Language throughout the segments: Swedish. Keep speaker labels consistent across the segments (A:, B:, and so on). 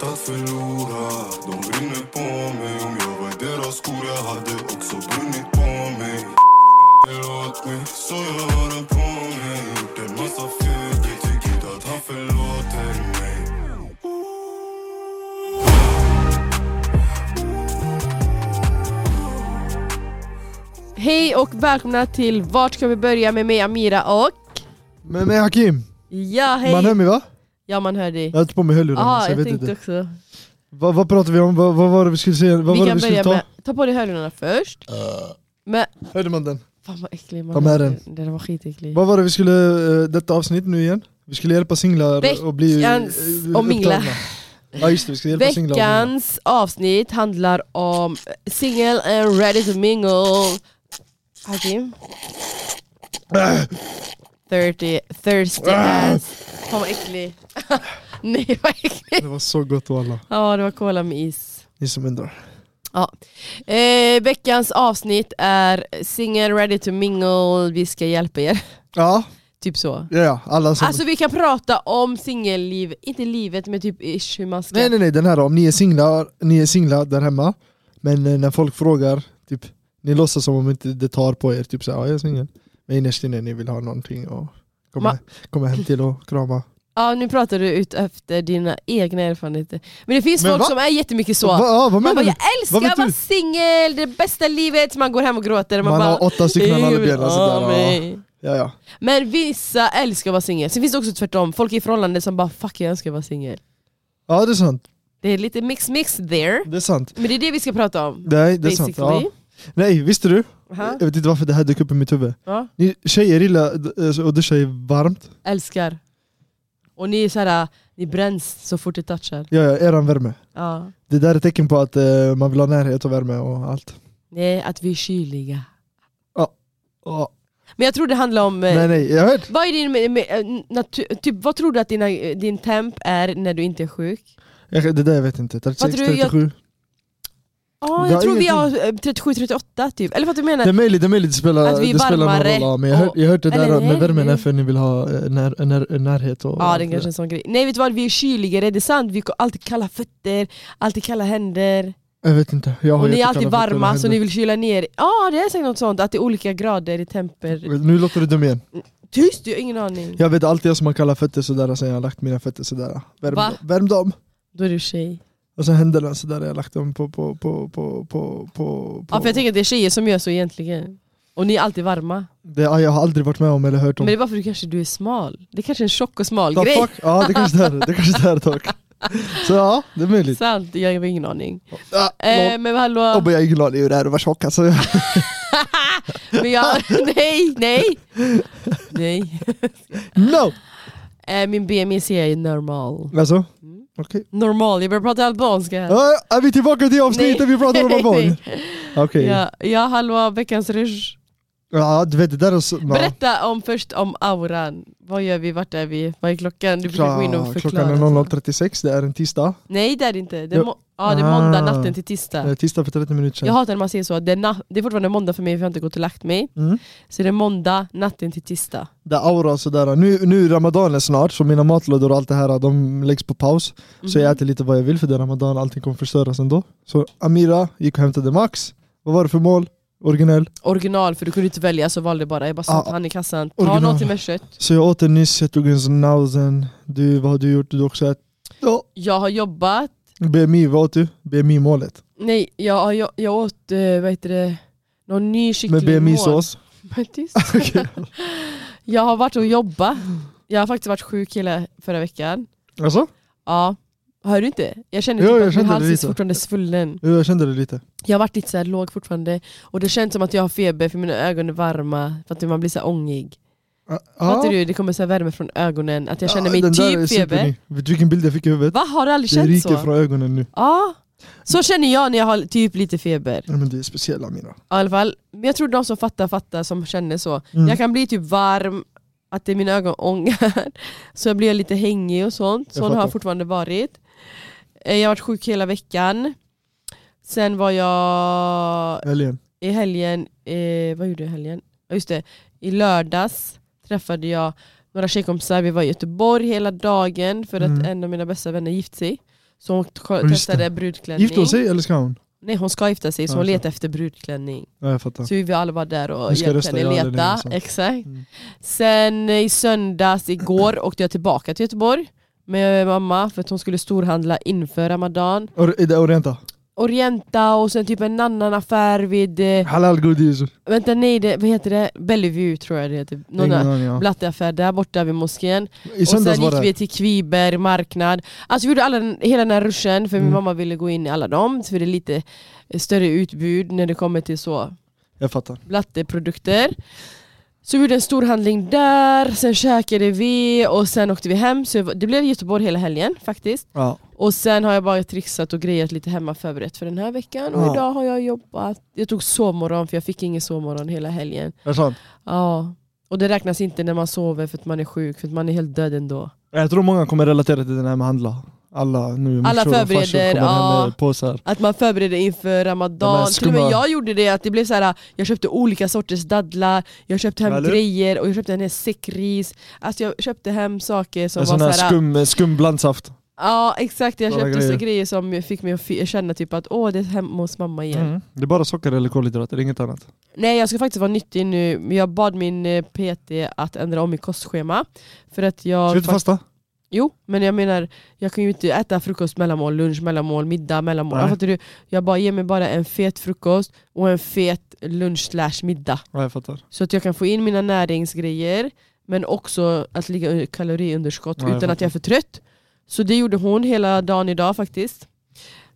A: förlora De brinner på mig Om jag var i deras skor jag hade också brunnit på mig Ringer åt mig så jag har den på mig Gjort en massa fel Jag tycker inte att han förlåter mig
B: Hej och välkomna till Vart ska vi börja med mig Amira och...
C: Men, men Hakim,
B: Ja hej!
C: man hör mig va?
B: Ja man hör dig.
C: Jag har inte på mig hörlurarna
B: Jaha,
C: så jag,
B: jag
C: vet
B: tänkte
C: inte.
B: också.
C: Vad, vad pratar vi om? Vad, vad var det vi skulle säga? Vad
B: Vi
C: var det
B: kan
C: vi
B: börja
C: skulle ta? Uh.
B: med... Ta på dig hörlurarna först. Men...
C: Hörde man den?
B: Fan vad äcklig man
C: Ta med den.
B: Den var skitäcklig.
C: Vad var det vi skulle, eh, detta avsnitt nu igen? Vi skulle hjälpa singlar och bli eh,
B: Veckans och mingla.
C: upptagna. Ja just det, vi skulle hjälpa singlar och mingla.
B: Veckans avsnitt handlar om single and ready to mingle. Hakim? Thirsty, thirsty ass. Fan vad äcklig. Nej vad äcklig.
C: Det var så gott och alla,
B: Ja det var cola med is.
C: ni som undrar.
B: Eh, veckans avsnitt är Single ready to mingle, vi ska hjälpa er.
C: Ja,
B: Typ så.
C: ja, ja alla som...
B: Alltså vi kan prata om singelliv, inte livet men typ ish hur man ska...
C: nej nej nej, den här då, om ni är singlar, ni är singlar där hemma, men eh, när folk frågar, typ, ni låtsas som om inte det tar på er, typ såhär, ja jag är singel. Men innerst inne ni vill ha någonting och komma,
B: Ma-
C: komma hem till och krama.
B: Ja nu pratar du ut efter dina egna erfarenheter. Men det finns
C: Men
B: folk
C: va?
B: som är jättemycket så.
C: Va, ja, vad
B: Man
C: menar
B: bara,
C: du?
B: jag
C: Vad
B: älskar
C: vet
B: att vara
C: du?
B: singel, det bästa livet, man går hem och gråter. Och man,
C: Man
B: bara,
C: har åtta stycken
B: "Ingen vill
C: hallonbjällar
B: ha
C: sådär. ja.
B: mig."
C: Ja, ja.
B: Men vissa älskar att vara singel, sen finns det också tvärtom, folk i förhållande som bara 'fuck jag önskar vara singel'
C: ja, det är sant.
B: Det är lite mix-mix there,
C: Det är sant.
B: men det är det vi ska prata om.
C: Nej, det är sant.
B: Basically.
C: Ja. Nej, visste du?
B: Aha.
C: Jag vet inte varför det här dök upp i mitt huvud.
B: Ja.
C: Ni tjejer gillar d- alltså, att duscha i varmt.
B: Älskar. Och ni är såhär, ni bränns så fort det touchar.
C: Ja, ja, eran värme.
B: Ja.
C: Det där är ett tecken på att eh, man vill ha närhet och värme och allt.
B: Nej, att vi är kyliga.
C: Ja.
B: Men jag tror det handlar om... eh,
C: Nej, nej, jag hört.
B: Vad, är din, med, med, eh, natu- typ, vad tror du att dina, eh, din temp är när du inte är sjuk?
C: Jag, det där jag vet inte. 36,
B: Vad tror du, jag-
C: 37.
B: Ja,
C: Det
B: jag
C: har
B: tror vi
C: ingenting.
B: har 37-38 typ. Eller vad du menar?
C: Det är möjligt, det är möjligt. Det spelar,
B: Att vi är
C: det spelar någon
B: varmare
C: roll. Ja, men jag har
B: och-
C: jag hört det där
B: eller nej,
C: med värmen
B: nej.
C: är för att ni vill ha eh, när, när, närhet och
B: Ja,
C: allt
B: det är kanske
C: där.
B: en sån grej. Nej vet du vad, vi är kyligare, det är sant. Vi har alltid kalla fötter, alltid kalla händer.
C: Jag vet inte. Jag har
B: och ni är
C: jättekalla
B: alltid
C: fötter och
B: varma så
C: händer.
B: ni vill kyla ner. Ja, det är säkert något sånt. Att det är olika grader i temper.
C: Nu låter du dum igen.
B: Tyst, jag har ingen aning.
C: Jag vet alltid jag som har kalla fötter sådär sen jag har lagt mina fötter sådär. Värm,
B: Va?
C: värm dem.
B: Då är du tjej.
C: Och sen händerna sådär jag har lagt dem på... på, på, på, på, på,
B: Ja, för jag tänker att det är tjejer som gör så egentligen. Och ni är alltid varma.
C: det, ja, jag har aldrig varit med om eller hört om.
B: Men det är bara för att du kanske du är smal. Det är kanske är en tjock och smal
C: The
B: grej.
C: fuck? Ja det kanske det är det kanske det är dock. Så ja, det är möjligt.
B: Sant, jag har ingen aning.
C: Ja,
B: Eh,
C: lol.
B: men hallå,
C: Och jag är glad över det här och var tjock alltså. Jag
B: men jag, nej, nej! nej.
C: No!
B: Eh, min BMI ser jag är normal.
C: Alltså,
B: Mm.
C: okej.
B: Normal, jag börjar prata albanska här.
C: Ah, är vi tillbaka till avsnittet vi pratade om Avon?
B: Nej.
C: Okej.
B: ja, ja, hallå, veckans rush.
C: Ja du vet det där är så... ja.
B: Berätta om, först om auran. Vad gör vi, vart är vi, vad är klockan? Du brukar gå in och
C: Kla-
B: förklara.
C: Klockan är 00.36, det är en tisdag.
B: Nej det är det inte. Det är,
C: Jo.
B: må- ja, det är måndag
C: Ah.
B: natten till tisdag.
C: Det är tisdag för 30 minuter
B: Jag
C: sedan.
B: hatar när man säger så, det är, na- det är fortfarande måndag för mig för jag har inte gått och lagt mig.
C: Mm.
B: Så det är måndag natten till tisdag.
C: där aura och sådär. Nu, nu är ramadan är snart, så mina matlådor och allt det här de läggs på paus. Så
B: Mhm.
C: jag äter lite vad jag vill för det är ramadan, allting kommer förstöras ändå. Så Amira gick och hämtade Max. Vad var det för mål? Originell.
B: Original, för du kunde inte välja så valde jag bara. Jag bara satt
C: Ah,
B: han i kassan, ta
C: original.
B: någonting med kött.
C: Så jag åt den nyss, jag tog en snauzen. Du, vad har du gjort? Du har också ätit? Ja.
B: Jag har jobbat,
C: BMI, vad åt du? BMI-målet.
B: nej jag, har, jag, jag åt eh, vad heter det, någon ny
C: Med
B: kycklingmål.
C: BMI-sås.
B: Men tyst. jag har varit och jobbat. Jag har faktiskt varit sjuk hela förra veckan.
C: Alltså?
B: Ja, hör du inte? Jag känner
C: Jo,
B: typ att
C: jag
B: min
C: kände det
B: hals är
C: lite.
B: fortfarande svullen.
C: Jo, jag kände det lite.
B: Jag har varit lite så här låg fortfarande och det känns som att jag har feber för mina ögon är varma, för att man blir så här ångig.
C: Ah,
B: Fattar du? Det kommer så här värme från ögonen, att jag känner mig
C: den där är
B: typ feber.
C: superny. Vet du vilken bild jag fick i huvudet?
B: Va, har du aldrig
C: Det
B: känt
C: ryker
B: så?
C: från ögonen nu.
B: Ja, så känner jag när jag har typ lite feber.
C: Ja, men det är speciella Amira.
B: Ja, i alla fall. Men jag tror de som fattar fattar som känner så.
C: Mm.
B: Jag kan bli typ varm, att det är mina ögon ångar, så jag blir lite hängig och sånt.
C: Jag
B: Sån har
C: fattar.
B: jag fortfarande varit. Eh, Jag har varit sjuk hela veckan. Sen var jag
C: Älgen.
B: i helgen, eh, vad gjorde jag i helgen? Ja, Just det, i lördags träffade jag några tjejkompisar, vi var i Göteborg hela dagen för att
C: Mm.
B: en av mina bästa vänner gift sig. Så hon ko-
C: Just
B: testade
C: det.
B: brudklänning.
C: Gifte hon sig eller ska hon?
B: Nej hon ska gifta sig så
C: Ja,
B: hon
C: så.
B: letade efter brudklänning.
C: Ja, jag fattar.
B: Så vi var alla var där och
C: Ni ska
B: hjälpte
C: rösta
B: henne
C: ja eller nej
B: leta.
C: och sånt.
B: Exakt.
C: Mm.
B: Sen eh, i söndags, igår, åkte jag tillbaka till Göteborg med mamma för att hon skulle storhandla inför ramadan.
C: Or, I det Orienta?
B: Orienta och sen typ en annan affär vid, eh,
C: Halal godis.
B: vänta nej det, vad heter det? Bellevue tror jag det heter. Någon
C: Ingen
B: där
C: aning, ja.
B: Blatteaffär där borta vid moskén.
C: I
B: Och sen
C: söndags var
B: gick
C: det.
B: vi till Kviberg marknad. Alltså vi gjorde alla, den- hela den här ruschen för min
C: Mm.
B: mamma ville gå in i alla dem. För det är lite större utbud när det kommer till så
C: Jag fattar.
B: blatteprodukter. Så vi gjorde en stor handling där, sen käkade vi och sen åkte vi hem. Så jag var- det blev Göteborg hela helgen faktiskt.
C: Ja.
B: Och sen har jag bara trixat och grejat lite hemma förberett för den här veckan. Och
C: Ja.
B: idag har jag jobbat. Jag tog sovmorgon för jag fick ingen sovmorgon hela helgen.
C: Är det sant?
B: Ja. Och det räknas inte när man sover för att man är sjuk, för att man är helt död ändå.
C: Jag tror många kommer relatera till den här med handla. Alla nu,
B: Alla
C: morsor och farsor
B: förbereder,
C: kommer hem
B: ja.
C: med påsar.
B: Att man förbereder inför
C: De
B: ramadan.
C: här
B: Till och med
C: skumma-
B: jag gjorde det, att det blev så här. jag köpte olika sorters dadlar, jag köpte hem
C: Eller?
B: grejer och jag köpte en hel säck ris. Alltså jag köpte hem saker som
C: En
B: var
C: sån
B: så
C: här
B: här.
C: skum, skum blandsaft.
B: ja exakt, jag
C: Såna
B: köpte grejer.
C: grejer.
B: grejer som fick mig att fi- känna typ att åh det är hemma hos mamma igen.
C: Mm. Det är bara socker eller kolhydrater, inget annat.
B: Nej jag ska faktiskt vara nyttig nu, men jag bad min eh, PT att ändra om mitt kostschema. För att jag...
C: Sluta fasta.
B: Jo, men jag menar, jag kan ju inte äta frukost, mellanmål, lunch, mellanmål, middag, mellanmål.
C: Nej.
B: Ja, Fattar du? Jag bara ger mig bara en fet frukost och en fet lunch slash middag.
C: Ja, jag fattar.
B: Så att jag kan få in mina näringsgrejer, men också att ligga under kaloriunderskott
C: Ja, jag
B: utan att
C: fattar.
B: jag är för trött. Så det gjorde hon hela dagen idag faktiskt.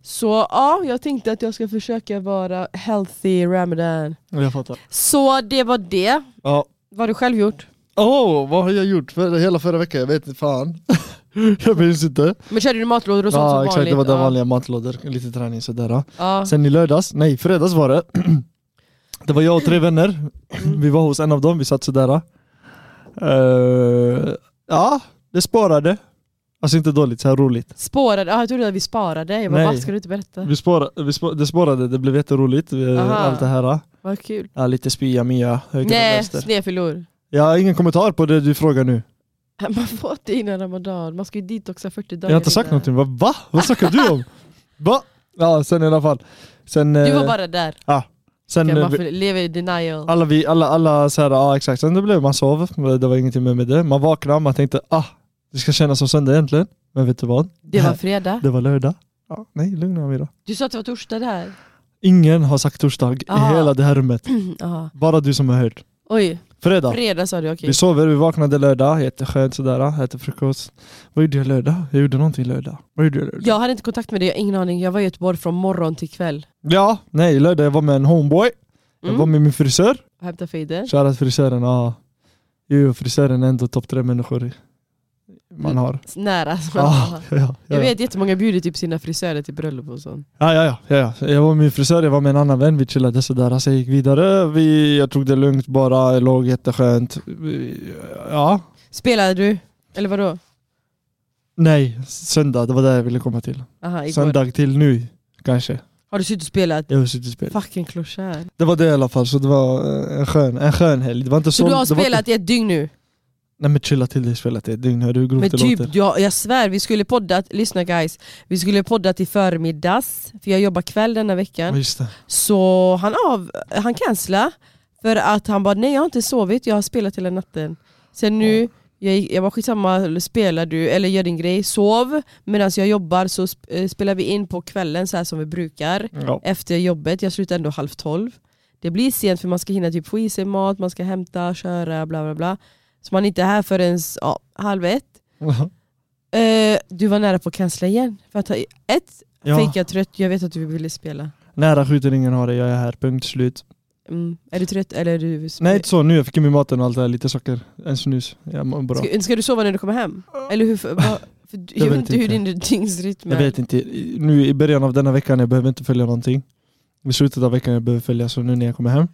B: Så ja, jag tänkte att jag ska försöka vara healthy ramadan.
C: Ja, Jag fattar.
B: Så det var det.
C: Ja.
B: Vad har du själv gjort?
C: Åh, vad har jag gjort för, hela förra veckan? Jag vet inte fan. jag minns inte.
B: Men körde du matlådor och sånt som
C: Ja
B: vanligt?
C: exakt, det var den
B: Ja.
C: vanliga matlådor, lite träning sådär.
B: Ja.
C: Sen i lördags, nej fredags var det. Det var jag och tre vänner,
B: Mm.
C: vi var hos en av dem, vi satt sådär. Eh, ja, det sparade. Alltså inte dåligt, så här roligt.
B: Spårade? Ja, jag trodde att vi sparade. Jag bara,
C: Nej.
B: varför ska du inte berätta?
C: Vi sparade, vi spa- det sparade, det blev jätteroligt. eh,
B: Aha.
C: Allt det här.
B: Vad kul.
C: Ja, lite spya mia, höger och
B: Nej,
C: vänster.
B: snedfyllor.
C: Jag har ingen kommentar på det du frågar nu.
B: Man får det innan ramadan. Man ska ju detoxa 40 dagar
C: Jag har inte sagt
B: innan.
C: någonting. Va? Va? Vad snackar du om? Va? Ja, sen i alla fall. Sen,
B: Du var
C: eh,
B: bara där.
C: sen,
B: Kan
C: eh,
B: man
C: vi-
B: för, leva i denial.
C: Alla, vi, alla, alla så här, ja exakt. Sen det blev, man sov, det var ingenting mer med det. Man vaknade, man tänkte ah, det ska kännas som söndag egentligen. Men vet du vad?
B: Det var fredag.
C: Det var lördag. Ja, nej, lugna mig då.
B: Du sa att det var torsdag där.
C: Ingen har sagt torsdag
B: Ah.
C: i hela det här rummet.
B: Aha.
C: Bara du som har hört.
B: Oj,
C: Fredag.
B: fredag sa du. Okej.
C: Vi sover, vi vaknade lördag, jätteskönt sådär, ah, äter frukost. Vad gjorde jag lördag? Jag gjorde någonting lördag. Vad gjorde jag lördag?
B: Jag hade inte kontakt med dig, jag har ingen aning. Jag var i Göteborg från morgon till kväll.
C: Ja, nej, lördag jag var med en homeboy. Jag
B: Mm.
C: var med min frisör.
B: Hämta fejder.
C: Shoutout frisören, ja. Jo, jo, frisören är ändå topp tre människor
B: Mm.
C: man har.
B: Nära. som jag
C: Ja,
B: var.
C: ja, ja,
B: Jag
C: Ah, ja.
B: vet jättemånga bjuder typ sina frisörer till bröllop och sånt.
C: Ja, ja, ja, ja, ja. Jag var med min frisör, jag var med en annan vän, vi chillade sådär. Alltså jag gick vidare, vi, jag tog det lugnt bara, jag låg jätteskönt. Vi- Ja,
B: Spelade du? Eller vadå?
C: nej, söndag, det var där jag ville komma till.
B: Aha, igår.
C: Söndag till nu, kanske.
B: Har du suttit och spelat?
C: Jag har suttit och spelat.
B: Fucking klochär.
C: Det var det i alla fall, så det var eh, en skön, en skön helg. Det var inte
B: Så
C: sol-
B: du har
C: det var Inte,
B: spelat i ett dygn nu?
C: nej men chilla till dig, spela till ett dygn, hör du hur grovt
B: Men
C: det
B: typ,
C: låter?
B: jag, jag svär, vi skulle podda, lyssna guys, vi skulle podda till förmiddags, för jag jobbar kväll denna
C: Ja,
B: veckan.
C: Just det.
B: Så han, av, han cancellade, för att han bara nej jag har inte sovit, jag har spelat hela natten. Sen nu, jag, gick- jag bara skitsamma, spelar du eller gör din grej, sov. Medan jag jobbar så sp- eh, spelar vi in på kvällen så här som vi brukar.
C: Ja.
B: Efter jobbet, jag slutar ändå halv tolv. Det blir sent för man ska hinna typ få i sig mat, man ska hämta, köra, bla bla bla. Så man är inte här förrän ja, halv ett. Eh, du var nära på att cancella igen. För att, ha- ett,
C: ja.
B: fejka trött, jag vet att du ville spela.
C: Nära skjuter ingen har det, jag är här, punkt slut.
B: Mm. Är du trött eller är du...
C: Nej typ inte så, nu jag fick i mig maten och allt det där, lite socker, en snus. Jag mår bra.
B: ska, ska du sova när du kommer hem? Eller hur, för, vad- för du-
C: Jag
B: jag vet
C: vet
B: inte hur
C: inte.
B: din dygnsrytm
C: Jag
B: är.
C: vet inte, I- nu i början av denna veckan jag behöver inte följa någonting. I slutet av veckan jag behöver följa, så nu när jag kommer hem.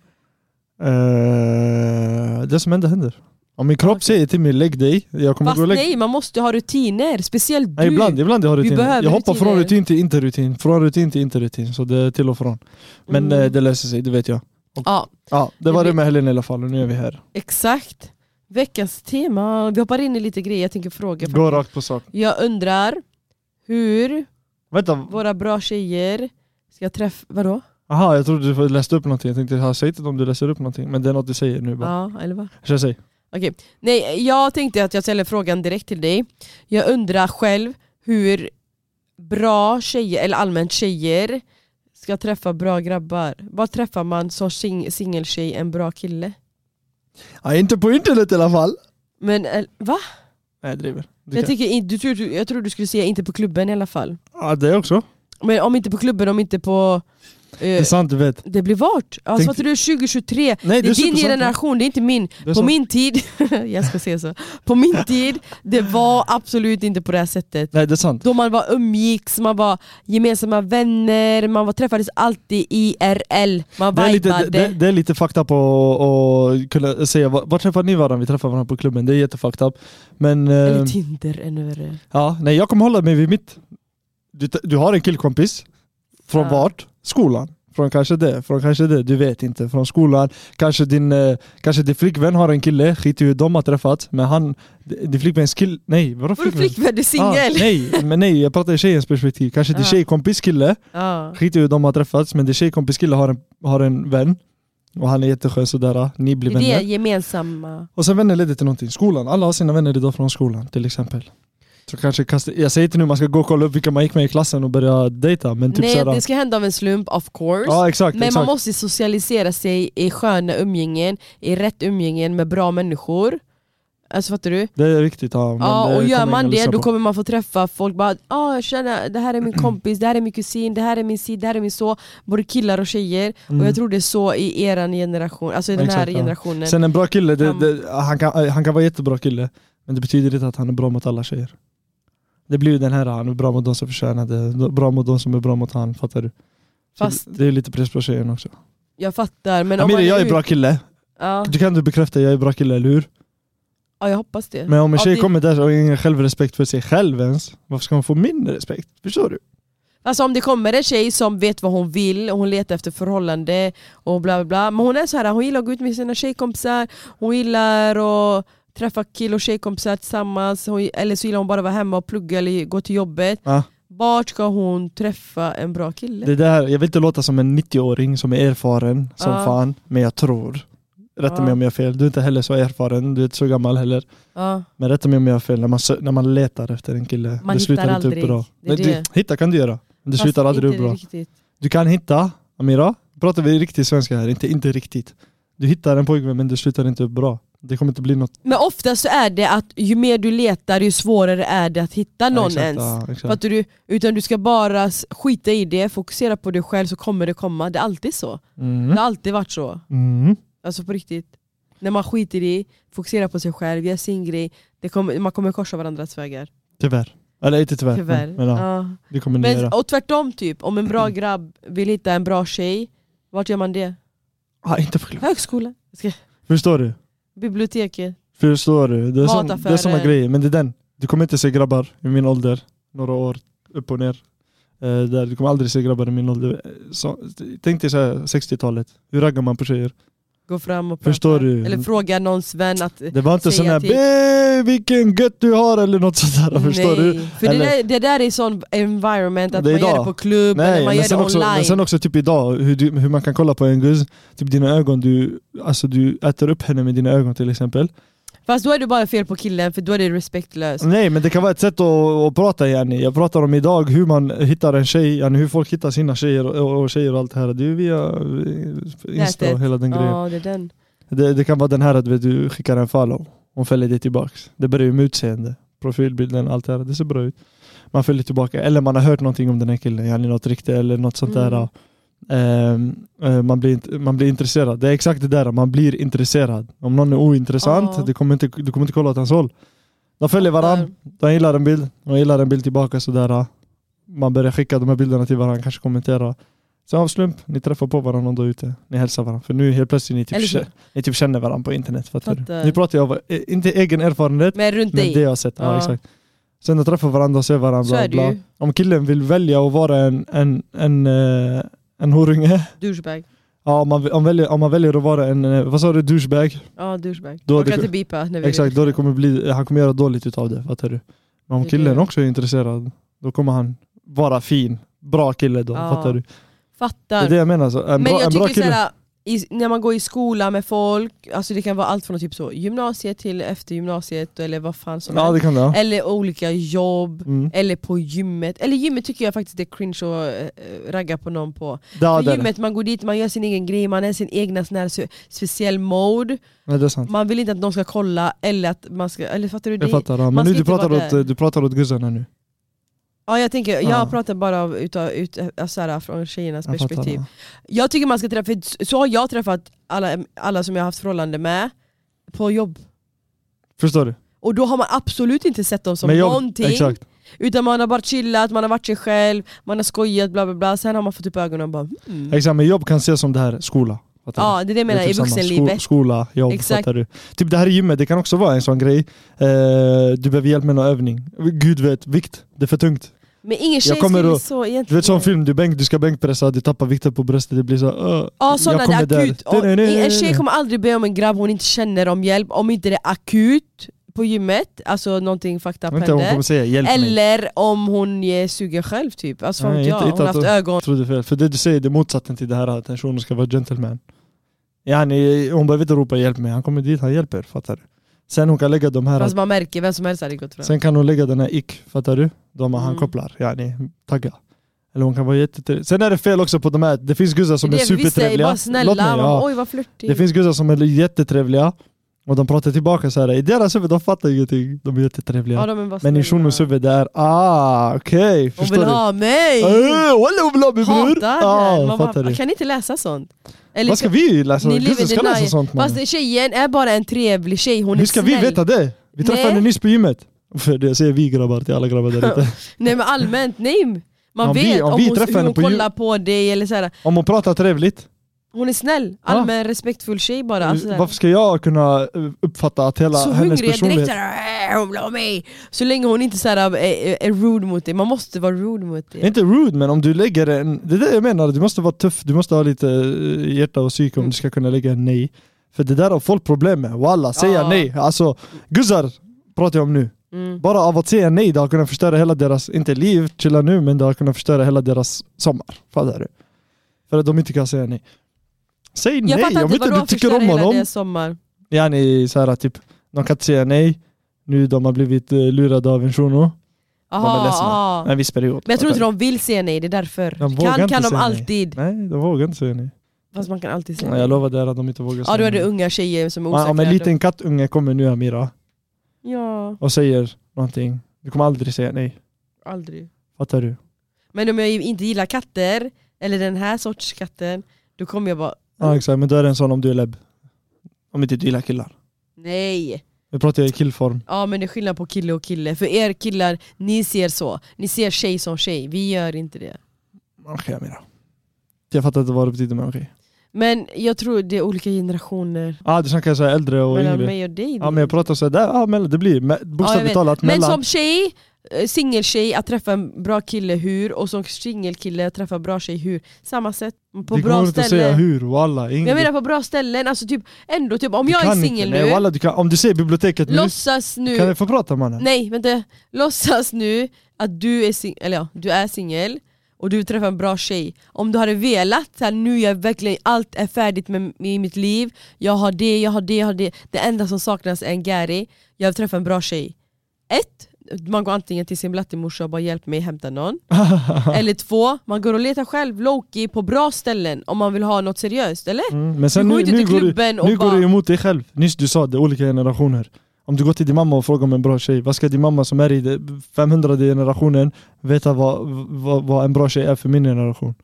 C: Eh, det som händer händer. Om min kropp
B: Okej.
C: säger till mig lägg dig, jag kommer
B: Fast
C: gå och lägga
B: nej, man måste ha rutiner. Speciellt du.
C: Nej, ibland, ibland jag har
B: Vi
C: rutin.
B: behöver
C: Jag hoppar från
B: rutiner.
C: rutin till inte rutin, från rutin till inte rutin. Så det är till och från. Men
B: Mm.
C: eh, det löser sig, det vet jag.
B: Ja,
C: Ja, det
B: Det
C: var det
B: blir-
C: med helgen i alla fall och nu är vi här.
B: exakt. Veckans tema. Vi hoppar in i lite grejer jag tänker fråga.
C: Gå rakt på sak.
B: Jag undrar hur
C: Vänta,
B: Våra bra tjejer ska träffa... Vadå?
C: aha jag trodde du läste upp någonting. Jag tänkte, ha, säg inte om du läser upp någonting. Men det är något du säger nu bara.
B: Ja, eller vad?
C: Kör säg.
B: Nej, jag tänkte att jag ställer frågan direkt till dig. Jag undrar själv hur bra tjejer, eller allmänt tjejer, ska träffa bra grabbar. Vad träffar man som sing- singeltjej en bra kille?
C: Ja, inte på internet i alla fall.
B: Men eh, va?
C: Nej, jag driver. Det
B: Jag,
C: kan-
B: tycker, in- du, tror- du, jag tror du skulle säga inte på klubben i alla fall.
C: Ja, det också.
B: Men om inte på klubben, om inte på...
C: Det är
B: Eh,
C: sant, du vet.
B: det blir vart? Alltså,
C: Tänk-
B: fattar du? 2023,
C: Nej,
B: det är din
C: supersant.
B: generation, det är inte min.
C: Det är
B: På
C: sant.
B: min tid, jag ska säga så. På min tid, det var absolut inte på det här sättet.
C: Nej, det är sant.
B: Då man var umgicks, man var gemensamma vänner, man var, träffades alltid IRL, man
C: Det är, lite,
B: vibade.
C: det, det- det är lite fucked up att- att kunna säga, var, var träffar ni varandra? Vi träffar varandra på klubben, det är jättefucked up. Men eh,
B: Eller typ- Tinder ännu värre.
C: ja, nej, jag kommer hålla mig vid mitt. Du, t- du har en killkompis, från
B: Ja.
C: vart? Skolan. Från kanske det, från kanske det, du vet inte. Från skolan, kanske din, eh, kanske din flickvän har en kille, skit i hur de har träffats. Men han, din flickväns kille, nej vadå
B: Vadå
C: flickvän?
B: flickvän, du är singel?
C: Ah, nej, men nej, jag pratar i tjejens perspektiv. Kanske din
B: Ja.
C: tjejkompis kille,
B: Ja.
C: skit i hur de har träffats, men din tjejkompis kille har en, har en vän. Och han är jätteskön sådär, ni
B: Det
C: blir
B: är det
C: vänner.
B: gemensamma.
C: Och sen vänner leder till någonting. Skolan, alla har sina vänner idag från skolan till exempel. Så kanske kasta, jag säger inte nu man ska gå och kolla upp vilka man gick med i klassen och börja dejta, men typ
B: nej,
C: sådär.
B: det ska hända av en slump, of course.
C: Ja exakt,
B: Men man
C: exakt.
B: måste socialisera sig i sköna umgängen, i rätt umgängen med bra människor. Alltså fattar du?
C: Det är viktigt. Ja, men
B: Ja,
C: det
B: och gör
C: kommer
B: man
C: ingen
B: det
C: lyssna
B: då
C: på.
B: kommer man få träffa folk bara ah, jag känner, det här är min kompis, det här är min kusin, det här är min si, det här är min så. Både killar och tjejer.
C: Mm.
B: Och jag tror det är så i eran generation, alltså i den här
C: Exakt, ja.
B: generationen.
C: Sen en bra kille, det,
B: Han-
C: det, han, kan, han kan vara jättebra kille, men det betyder inte att han är bra mot alla tjejer. Det blir ju den här, han är bra mot de som förtjänar det, bra mot de som är bra mot han, fattar du? Så
B: Fast
C: Det är lite press på tjejen också.
B: jag fattar. Men om
C: Amira,
B: man
C: jag är
B: ut-
C: bra kille.
B: Ja,
C: Du kan du bekräfta, jag är bra kille, eller hur?
B: ja, jag hoppas det.
C: Men om en
B: Ja,
C: tjej
B: det-
C: kommer där och har ingen självrespekt för sig själv ens, varför ska hon få min respekt? Förstår du?
B: Alltså om det kommer en tjej som vet vad hon vill och hon letar efter förhållande och bla bla bla. Men hon är så här, hon gillar att gå ut med sina tjejkompisar, hon gillar att träffa kill och tjejkompisar tillsammans, hon, eller så gillar hon bara att vara hemma och plugga eller gå till jobbet.
C: Ja.
B: Vart ska hon träffa en bra kille?
C: Det där, jag vill inte låta som en 90-åring som är erfaren som
B: Ja.
C: fan, men jag tror. Rätta
B: Ja.
C: mig om jag har fel, du är inte heller så erfaren, du är inte så gammal heller.
B: Ja.
C: Men rätta mig om jag har fel, när man, sö- när man letar efter en kille,
B: Man
C: det slutar
B: hittar
C: inte
B: aldrig.
C: upp bra.
B: Det är
C: Nej,
B: det.
C: Du, hitta kan du göra, men det
B: Fast
C: slutar aldrig upp
B: inte
C: bra.
B: Riktigt.
C: Du kan hitta, Amira, pratar vi riktigt svenska här, inte, inte riktigt. Du hittar en pojkvän men det slutar inte upp bra. Det kommer inte bli något.
B: Men oftast så är det att ju mer du letar ju svårare är det att hitta någon
C: exakt,
B: ens.
C: ja, exakt.
B: Fattar du? Utan du ska bara s- skita i det, fokusera på dig själv så kommer det komma. Det är alltid så. Det
C: Mm.
B: har alltid varit så.
C: Mm.
B: Alltså på riktigt. När man skiter i, fokuserar på sig själv, gör sin grej. Det kommer, man kommer korsa varandras vägar.
C: Tyvärr. Eller inte tyvärr,
B: Tyvärr.
C: Men, men ja,
B: Ja.
C: det kommer ni
B: Men,
C: göra.
B: och tvärtom typ, om en bra grabb vill hitta en bra tjej, vart gör man det?
C: Ah, inte för...
B: Högskola,
C: Förstår du?
B: biblioteket.
C: Förstår du? Det är, sån, det är
B: Mataffärer.
C: såna grejer, men det är den. Du kommer inte se grabbar i min ålder, några år upp och ner. Eh, där. Du kommer aldrig se grabbar i min ålder. Eh, Så, tänk dig så här 60-talet, hur raggar man på tjejer?
B: Gå fram och
C: Förstår
B: prata.
C: du?
B: Eller fråga någons vän att...
C: Det var inte
B: Säga
C: sån här
B: till-
C: "Bey, vilken gött du har eller något sånt där, förstår
B: Nej.
C: du?
B: För det
C: Eller-
B: där, det där är sån environment, att
C: Det är
B: man gör det
C: idag.
B: på klubb, eller
C: Nej,
B: man gör det
C: men sen, också, men
B: online.
C: sen också typ idag, hur, du, hur man kan kolla på en guzz, typ dina ögon, du, alltså du äter upp henne med dina ögon till exempel.
B: Fast då är du bara fel på killen, för då är det respektlöst.
C: Nej men det kan vara ett sätt att, att prata yani. Jag pratar om idag hur man hittar en tjej, yani hur folk hittar sina tjejer och, och tjejer och allt det här. Det är ju via eh, Insta och
B: Nätet.
C: hela den grejen.
B: Ja, det är den.
C: Det, det kan vara den här att vet du skickar en follow, hon följer dig tillbaks. Det börjar ju med utseende, profilbilden, allt det här. Det ser bra ut. Man följer tillbaka, eller man har hört någonting om den här killen, yani något rykte eller något sånt
B: Mm.
C: där. Ehm, eh, man, blir, int- man blir intresserad. Det är exakt det där, man blir intresserad. Om någon är ointressant,
B: Ja.
C: du, kommer inte, du kommer inte kolla åt hans håll. De följer varandra,
B: Där.
C: de gillar en bild, de gillar en bild tillbaka sådär. äh. Man börjar skicka de här bilderna till varandra, kanske kommentera. Sen av slump, ni träffar på varandra någon dag ute, ni hälsar varandra. För nu helt plötsligt ni typ,
B: Eller hur?
C: kä- ni typ känner varandra på internet. Fattar
B: Fattar.
C: du? Nu pratar jag av, eh, inte egen erfarenhet,
B: Men runt
C: men det
B: dig,
C: jag har sett. Ja.
B: Ja.
C: exakt. Sen de träffar varandra och ser varandra.
B: så
C: Bla,
B: är det
C: bla.
B: ju.
C: Om killen vill välja att vara en, en, en, eh, en horunge,
B: Douchebag.
C: ja, om, man, om, väljer, om man väljer att vara en, eh, vad sa du, douchebag?
B: Ja, douchebag.
C: Då
B: Man
C: det-
B: kan inte bipa. när vi-
C: Exakt, då det kommer bli, han kommer göra dåligt utav det, fattar du? Men
B: liksom-
C: om
B: Det är
C: killen
B: det.
C: också är intresserad, då kommer han vara fin. Bra kille då,
B: Ja.
C: fattar du? Det
B: Fattar.
C: är det jag menar. Så. En,
B: men
C: bra,
B: jag
C: en bra
B: tycker
C: kille.
B: såhär, i, när man går i skola med folk, alltså det kan vara allt från typ så gymnasiet till efter gymnasiet eller vad fan som
C: ja
B: helst.
C: det kan det. Ja.
B: Eller olika jobb,
C: Mm.
B: eller på gymmet. Eller gymmet tycker jag faktiskt det är cringe att eh, ragga på någon på.
C: Ja,
B: För
C: det, är det.
B: gymmet, man går dit, man gör sin egen grej, man är sin egna sån här se- speciell mode.
C: Nej, det är sant.
B: Man vill inte att någon ska kolla eller att man ska, eller fattar du?
C: Jag
B: Det?
C: fattar. Ja. Men
B: man
C: nu
B: ska
C: du
B: inte
C: pratar,
B: vara där.
C: åt, du pratar åt guzzarna nu.
B: Ja jag tänker, jag
C: Ja.
B: pratar bara av, utav, ut, alltså här, från tjejernas
C: Jag fattar.
B: perspektiv.
C: Ja.
B: Jag tycker man ska träffa, för så har jag träffat alla, alla som jag har haft förhållande med på jobb.
C: Förstår du?
B: Och då har man absolut inte sett dem som
C: Men jag-
B: någonting.
C: Exakt.
B: Utan man har bara chillat, man har varit sig själv, man har skojat bla bla bla. Sen har man fått upp ögonen och bara mm.
C: Exakt, men jobb kan ses som det här, skola. Fattar du?
B: Ja det är det jag menar,
C: Det är
B: i
C: typ samma.
B: vuxenlivet.
C: Sko- skola, jobb,
B: Exakt.
C: fattar du? Typ det här i gymmet, det kan också vara en sån grej. Eh, du behöver hjälp med någon övning. Gud vet, vikt. Det är för tungt.
B: Men ingen tjej
C: Jag kommer
B: skulle
C: att-
B: så egentligen...
C: Du vet sån film, du, bänk, du ska bänkpressa, du tappar vikten på bröstet, det blir så uh,
B: Ja sådana, det är akut. Och en tjej
C: Nej,
B: kommer aldrig be om en grabb hon inte känner om hjälp om inte det är akut på gymmet, alltså någonting fucked up
C: Vänta, hon
B: händer.
C: kommer säga hjälp mig.
B: Eller om hon är sugen själv typ, alltså fan
C: Nej,
B: vet jag,
C: inte-
B: hon
C: inte
B: har
C: att
B: haft
C: hon-
B: ögon.
C: Jag trodde fel, för det du säger det är motsatsen till det här att en shuno ska vara gentleman. Yani, hon behöver inte ropa hjälp mig, han kommer dit, han hjälper. Fattar du? Sen hon kan lägga de här,
B: Fast man märker, vem som helst hade gått fram.
C: sen kan hon lägga den här ick, fattar du? De
B: Mm.
C: han kopplar, yani, tagga. Eller hon kan vara jättetrevlig. Sen är det fel också på de här, det finns guzzar som
B: det
C: är
B: vi visste,
C: supertrevliga.
B: bara snälla,
C: Låt mig,
B: man
C: ja.
B: bara, oj vad flörtig.
C: Det finns guzzar som är jättetrevliga och de pratar tillbaka så här. I deras huvud, de fattar ingenting. De är jättetrevliga.
B: ja, de är bara
C: Men
B: snälla.
C: i shunons huvud, det är ah, okej,
B: Hon
C: förstår
B: vill
C: du?
B: ha mig!
C: Eh, Walla hon vill ha mig bror!
B: Hatar henne!
C: Ja,
B: Man
C: fattar
B: bara,
C: du?
B: kan ni inte läsa sånt? Eller,
C: Vad ska vi läsa?
B: Ni lever
C: Gustav ska
B: denial.
C: läsa sånt man.
B: Fast tjejen är bara en trevlig tjej, hon
C: Hur
B: är
C: ska
B: snäll.
C: vi veta det? Vi träffade
B: Nej.
C: henne nyss på gymmet. För det säger vi grabbar till alla grabbar där ute.
B: Nej men allmänt, nej! Man
C: Om vi-
B: vet
C: om
B: om,
C: vi
B: hon,
C: träffar
B: hur
C: henne
B: hon
C: på ju-
B: kollar på dig eller så här.
C: Om hon pratar trevligt,
B: Hon är snäll, allmän respektfull tjej bara. Alltså, så här.
C: varför ska jag kunna eh, uppfatta att hela
B: så
C: hennes
B: hungrig jag direkt
C: personlighet...
B: såhär, hon vill ha mig! Så länge hon inte så här, är, är, är rude mot dig, man måste vara rude mot dig.
C: Inte rude men om du lägger en... Det är det jag menar, du måste vara tuff, du måste ha lite eh, hjärta och psyke om
B: Mm.
C: du ska kunna lägga en nej. För det där har folk problem med, walla, säga
B: Ja.
C: nej. Alltså, guzzar pratar jag om nu.
B: Mm.
C: Bara av att säga nej, det har kunnat förstöra hela deras, inte liv, chilla nu, men det har kunnat förstöra hela deras sommar. Fattar du? För att de inte kan säga nej. Säg
B: Jag
C: nej,
B: fattar
C: om
B: inte
C: inte
B: vadå
C: du tycker
B: förstöra
C: om
B: hela
C: honom.
B: deras sommar.
C: Yani så här typ, de kan inte säga nej. Nu de har blivit eh, lurade av en shuno.
B: Aha,
C: ledsna.
B: aha.
C: En viss period.
B: Men jag tror inte de vill se nej, det är därför.
C: De vågar
B: kan
C: inte
B: kan de
C: säga nej.
B: alltid,
C: Nej, de vågar inte säga nej.
B: fast man kan alltid säga
C: Ja, jag lovade er att de inte vågar
B: Ja
C: säga
B: då är det
C: nej.
B: unga tjejer som är
C: Men
B: osäkra.
C: Om en liten kattunge kommer nu Amira
B: Ja,
C: och säger någonting, du kommer aldrig säga nej.
B: aldrig.
C: Fattar du?
B: Men om jag inte gillar katter, eller den här sorts katten, då kommer jag bara
C: Ja exakt, men då är det en sån om du är lebb. Om inte du gillar killar.
B: nej.
C: Nu pratar jag i killform.
B: Ja men det är skillnad på kille och kille, för er killar, ni ser så. Ni ser tjej som tjej, vi gör inte det.
C: Okej Amira. Jag fattar inte vad det betyder men okej.
B: Men jag tror det är olika generationer
C: Ah, du snackar såhär äldre och
B: mellan
C: yngre.
B: mig och dig.
C: Ja men jag pratar såhär, där, ah, mellan, det blir me-
B: Ja, jag
C: bokstavligt
B: vet.
C: talat
B: Men
C: mellan.
B: som tjej, eh, singeltjej, att träffa en bra kille hur? Och som singelkille, att träffa en bra tjej hur? Samma sätt, på
C: det går
B: bra
C: inte att säga
B: ställen.
C: hur, walla.
B: Men Jag menar på bra ställen, alltså typ, ändå typ om jag är singel nu,
C: Nej, walla, du kan, om du säger biblioteket
B: låtsas
C: nu, kan
B: nu,
C: jag få prata mannen?
B: nej vänta, låtsas nu att du är singel, eller ja, du är singel och du träffar en bra tjej. Om du hade velat, så här, nu är jag verkligen, allt är färdigt med, i mitt liv, jag har det, jag har det, jag har det. Det enda som saknas är en Gary, jag vill träffa en bra tjej. Ett, man går antingen till sin blattemorsa och bara hjälp mig hämta någon. eller två, man går och letar själv, Loki, på bra ställen om man vill ha något seriöst, eller?
C: Mm, men
B: du
C: sen
B: går
C: nu,
B: inte
C: nu,
B: till
C: går du,
B: klubben och
C: nu
B: bara...
C: går du emot dig själv. Nyss du sa det, olika generationer. Om du går till din mamma och frågar om en bra tjej, vad ska din mamma som är i det 500 generationen veta vad, vad, vad en bra tjej är för min generation?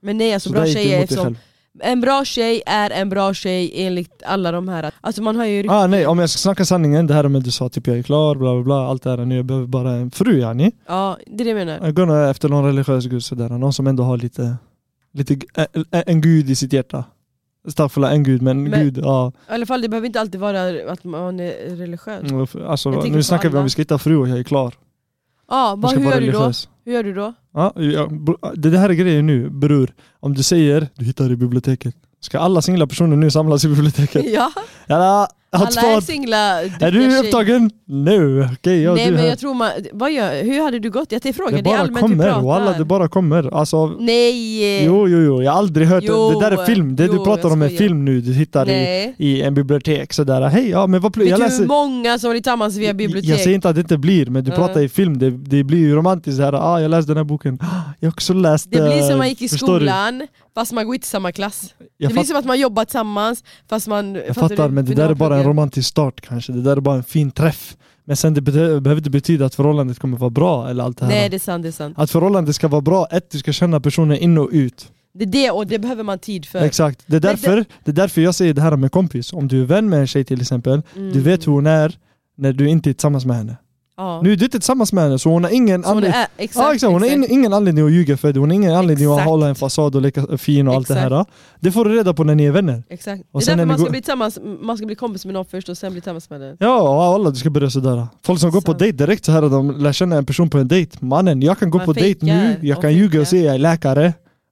B: Men nej alltså
C: Så
B: bra
C: där gick du
B: tjejer är
C: emot dig
B: som,
C: själv.
B: En bra tjej är en bra tjej enligt alla de här Alltså man har ju rykt-
C: Ah, nej, om jag ska snacka sanningen, det här med du sa typ jag är klar, bla bla bla, allt det här, nu jag behöver bara en fru yani.
B: Ja det är det jag menar
C: Jag går efter någon religiös gud sådär, någon som ändå har lite, lite g- ä- ä- en gud i sitt hjärta. Staffla en gud, men,
B: Men-
C: gud, ja.
B: I alla fall det behöver inte alltid vara att man är religiös
C: Mm, f- Alltså,
B: Jag tänker
C: nu
B: på
C: snackar vi
B: alla.
C: om vi ska hitta fru och jag är klar.
B: Ja,
C: Jag
B: vad,
C: ska
B: hur,
C: vara
B: gör du då?
C: religiös.
B: hur gör du då?
C: Ja, ja, br- det det här är grejen nu, bror. Om du säger du hittar det i biblioteket, ska alla singla personer nu samlas i biblioteket?
B: Ja,
C: Jalla, Hatt
B: Alla är
C: stad.
B: singla
C: Är du upptagen? Nu! Okej, jag,
B: Nej
C: du
B: men
C: här.
B: jag tror man, vad gör, hur hade du gått? Jag täger frågan,
C: det
B: det är
C: bara
B: allmänt vi
C: kommer,
B: pratar.
C: walla det bara kommer. Alltså,
B: Nej!
C: jo jo jo, jag har aldrig hört
B: Jo,
C: det. där är film, det
B: jo,
C: du pratar
B: jag
C: om är
B: skojar.
C: film nu du hittar i,
B: Nej.
C: i en bibliotek sådär. Hej, ja men vad pl-
B: Vet
C: jag
B: du
C: läser...
B: hur många som är tillsammans via bibliotek?
C: Jag säger inte att det inte blir, men du
B: Ja.
C: pratar i film, det, det blir ju romantiskt. Här. Ah, jag läste den här boken, ah, jag har också läst...
B: det blir
C: eh,
B: som man gick i
C: förstår
B: skolan, fast man går inte i samma klass.
C: Du? Jag,
B: det blir
C: fatt,
B: som att man jobbar tillsammans, fast man...
C: jag fattar, men det där är bara en romantisk start kanske. Det där är bara en fin träff. Men sen det bete- behöver inte betyda att förhållandet kommer vara bra eller allt det här.
B: Nej det är sant, det är sant.
C: Att förhållandet ska vara bra, ett, du ska känna personen in och ut.
B: Det är det, och det behöver man tid för.
C: Exakt. Det är,
B: Men
C: därför, det är därför jag säger det här med kompis. Om du är vän med en tjej till exempel,
B: Mm.
C: du vet hur hon är när du inte är tillsammans med henne.
B: Ja.
C: Nu är du inte tillsammans med henne så hon har ingen
B: Så hon
C: anledning
B: är, exakt,
C: ja, exakt. Hon har in,
B: exakt.
C: ingen anledning att ljuga för dig, hon har ingen anledning att
B: Exakt.
C: hålla en fasad och leka fin och allt
B: Exakt.
C: det här. Det får du reda på när ni är vänner.
B: Exakt.
C: Och
B: det
C: sen
B: är därför
C: när ni
B: man ska,
C: går-
B: bli tillsammans, man ska bli kompis med någon först och sen bli tillsammans med den.
C: Ja, och alla du ska börja sådär. Folk som går på
B: Så.
C: dejt direkt så här, de lär känna en person på en dejt. Mannen, jag kan gå
B: Man
C: på dejt nu,
B: fejkar
C: jag
B: och
C: kan ljuga och
B: fejkar.
C: säga jag är läkare.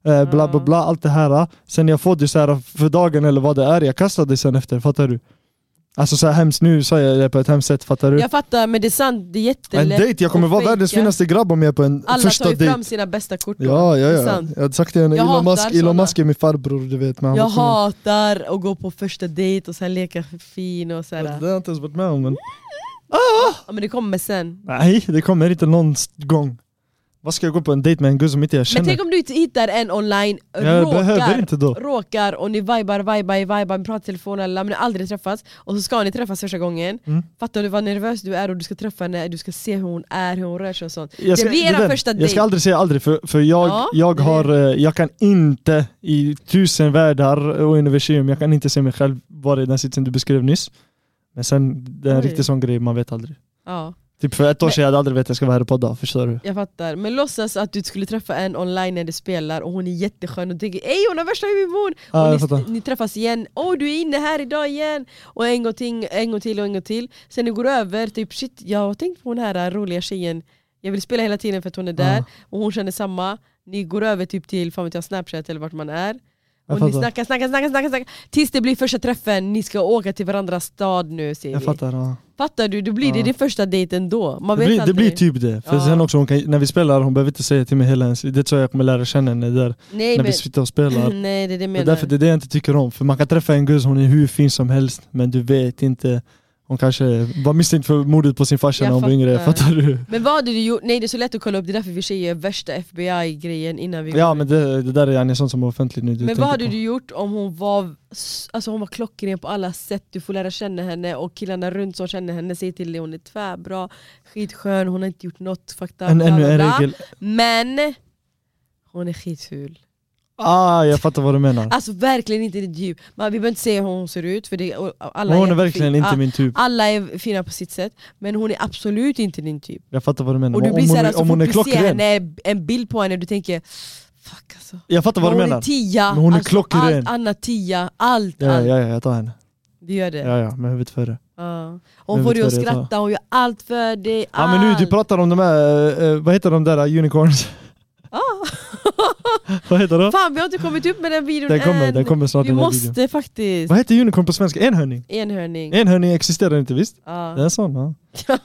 C: eh, Bla bla
B: Ja.
C: bla, allt det här. Sen jag får det så här för dagen eller vad det är, jag kastar det sen efter, fattar du? Alltså så här hemskt, nu säger jag det på ett hemskt sätt, fattar du?
B: Jag fattar men det är sant, det är
C: En
B: jättelätt
C: dejt, jag kommer
B: att
C: vara världens
B: fejka.
C: finaste grabb om jag är på en
B: Alla
C: första
B: tar ju
C: dejt.
B: fram sina bästa kort då.
C: Ja, ja,
B: Det är
C: ja.
B: sant.
C: Jag hade sagt det, Elon
B: hatar
C: Musk, Elon
B: såna.
C: Musk är min farbror du vet. Men han
B: Jag
C: var tvungen-
B: hatar att gå på första dejt och sen leka fin och
C: Ja, Det
B: sådär.
C: har jag inte ens varit med om men...
B: Ja, men det kommer sen.
C: Nej, det kommer inte någon gång. Vad ska jag gå på en dejt med en gud som inte jag
B: Men
C: känner?
B: tänk om du inte hittar en online,
C: jag behöver
B: råkar,
C: inte då.
B: råkar och ni vibar, vibar, vibar, pratar i telefon eller men ni har aldrig träffats och så ska ni träffas första gången.
C: Mm.
B: Fattar du vad nervös du är och du ska träffa henne, du ska se hur hon är, hur hon rör sig och sånt.
C: Jag
B: blir
C: det
B: era
C: där-
B: första
C: Jag
B: dejt.
C: ska aldrig säga aldrig för, för jag,
B: Ja,
C: jag,
B: det är
C: har, eh, jag kan inte i tusen världar och universum, jag kan inte se mig själv vara i den sitsen du beskrev nyss. Men sen, det är en
B: Oj.
C: riktig sån grej, man vet aldrig.
B: Ja,
C: Typ för ett år
B: Men-
C: sedan jag hade aldrig vetat att jag ska vara här och podda, förstår du?
B: jag fattar. Men låtsas att du skulle träffa en online när du spelar och hon är jätteskön och du tänker ey hon har värsta humorn!
C: Ja, jag
B: och
C: fattar.
B: ni, ni träffas igen, åh du är inne här idag igen! Och en gång, ting, en gång till och en gång till. Sen det går över, typ shit jag har tänkt på den här eh, roliga tjejen, jag vill spela hela tiden för att hon är där,
C: Ja.
B: och hon känner samma. Ni går över typ till fan vet jag, snapchat eller vart man är.
C: Jag
B: Och ni
C: fattar.
B: snackar, snackar, snackar, snackar, snackar tills det blir första träffen, ni ska åka till varandras stad nu säger
C: Jag
B: vi.
C: fattar. Ja.
B: Fattar du? Det blir det,
C: Ja.
B: det är första dejten då. Man
C: Det
B: vet
C: blir, det
B: aldrig.
C: blir typ det. För
B: Ja.
C: sen också, hon kan, när vi spelar, hon behöver inte säga till mig hela ens, det tror jag jag kommer lära känna henne där.
B: Nej,
C: när
B: men,
C: vi sitter och spelar.
B: nej det är det jag
C: Det är
B: menar.
C: därför det är det jag inte tycker om. För man kan träffa en guzz, hon är hur fin som helst, men du vet inte. Hon kanske var misstänkt för mordet på sin farsa
B: Jag
C: när hon var yngre,
B: fattar.
C: fattar du?
B: Men vad hade du gjort? Nej det är så lätt att kolla upp, det är därför vi tjejer är värsta FBI-grejen innan vi går
C: Ja
B: ut.
C: men det, det där är en sån som är offentlig nu. Du
B: Men
C: tänker
B: vad hade
C: på.
B: du gjort om hon var, s- alltså hon var klockren på alla sätt, du får lära känna henne och killarna runt som känner henne säger till dig hon är tvärbra, skitskön, hon har inte gjort något, fakta,
C: En, ännu en regel.
B: Men hon är skitful.
C: Ah jag fattar vad du menar.
B: Alltså verkligen inte ditt djup. Man, vi behöver inte säga hur hon ser ut för det, och alla
C: Men hon är
B: jättefin-
C: verkligen
B: Ah,
C: inte min typ.
B: Alla är fina på sitt sätt, men hon är absolut inte din typ.
C: Jag fattar vad du menar.
B: Och du
C: Om
B: blir
C: hon,
B: såhär, alltså,
C: om hon är
B: fort du ser
C: klockren.
B: henne, en bild på henne, du tänker fuck alltså.
C: Jag fattar vad du
B: hon är
C: menar.
B: tia,
C: Men hon är
B: alltså,
C: klockren.
B: allt annat tia, allt,
C: Ja,
B: allt.
C: ja, ja, jag tar henne.
B: Du gör det?
C: Ja, ja, med huvudet före.
B: Ja.
C: Men
B: Hon får
C: vet
B: dig
C: vad
B: att
C: det är,
B: skratta, hon gör allt för dig,
C: Ja men nu, du
B: allt.
C: pratar om de här, eh, eh, vad heter de där eh, unicorns? vad heter de?
B: Ah. Fan vi har inte kommit upp med den videon
C: Den kommer,
B: än!
C: den kommer snart
B: vi
C: den här
B: måste
C: videon.
B: faktiskt!
C: Vad heter unicorn på svenska? Enhörning?
B: Enhörning.
C: Enhörning existerar inte visst? Det är
B: Ja.
C: en sån ja.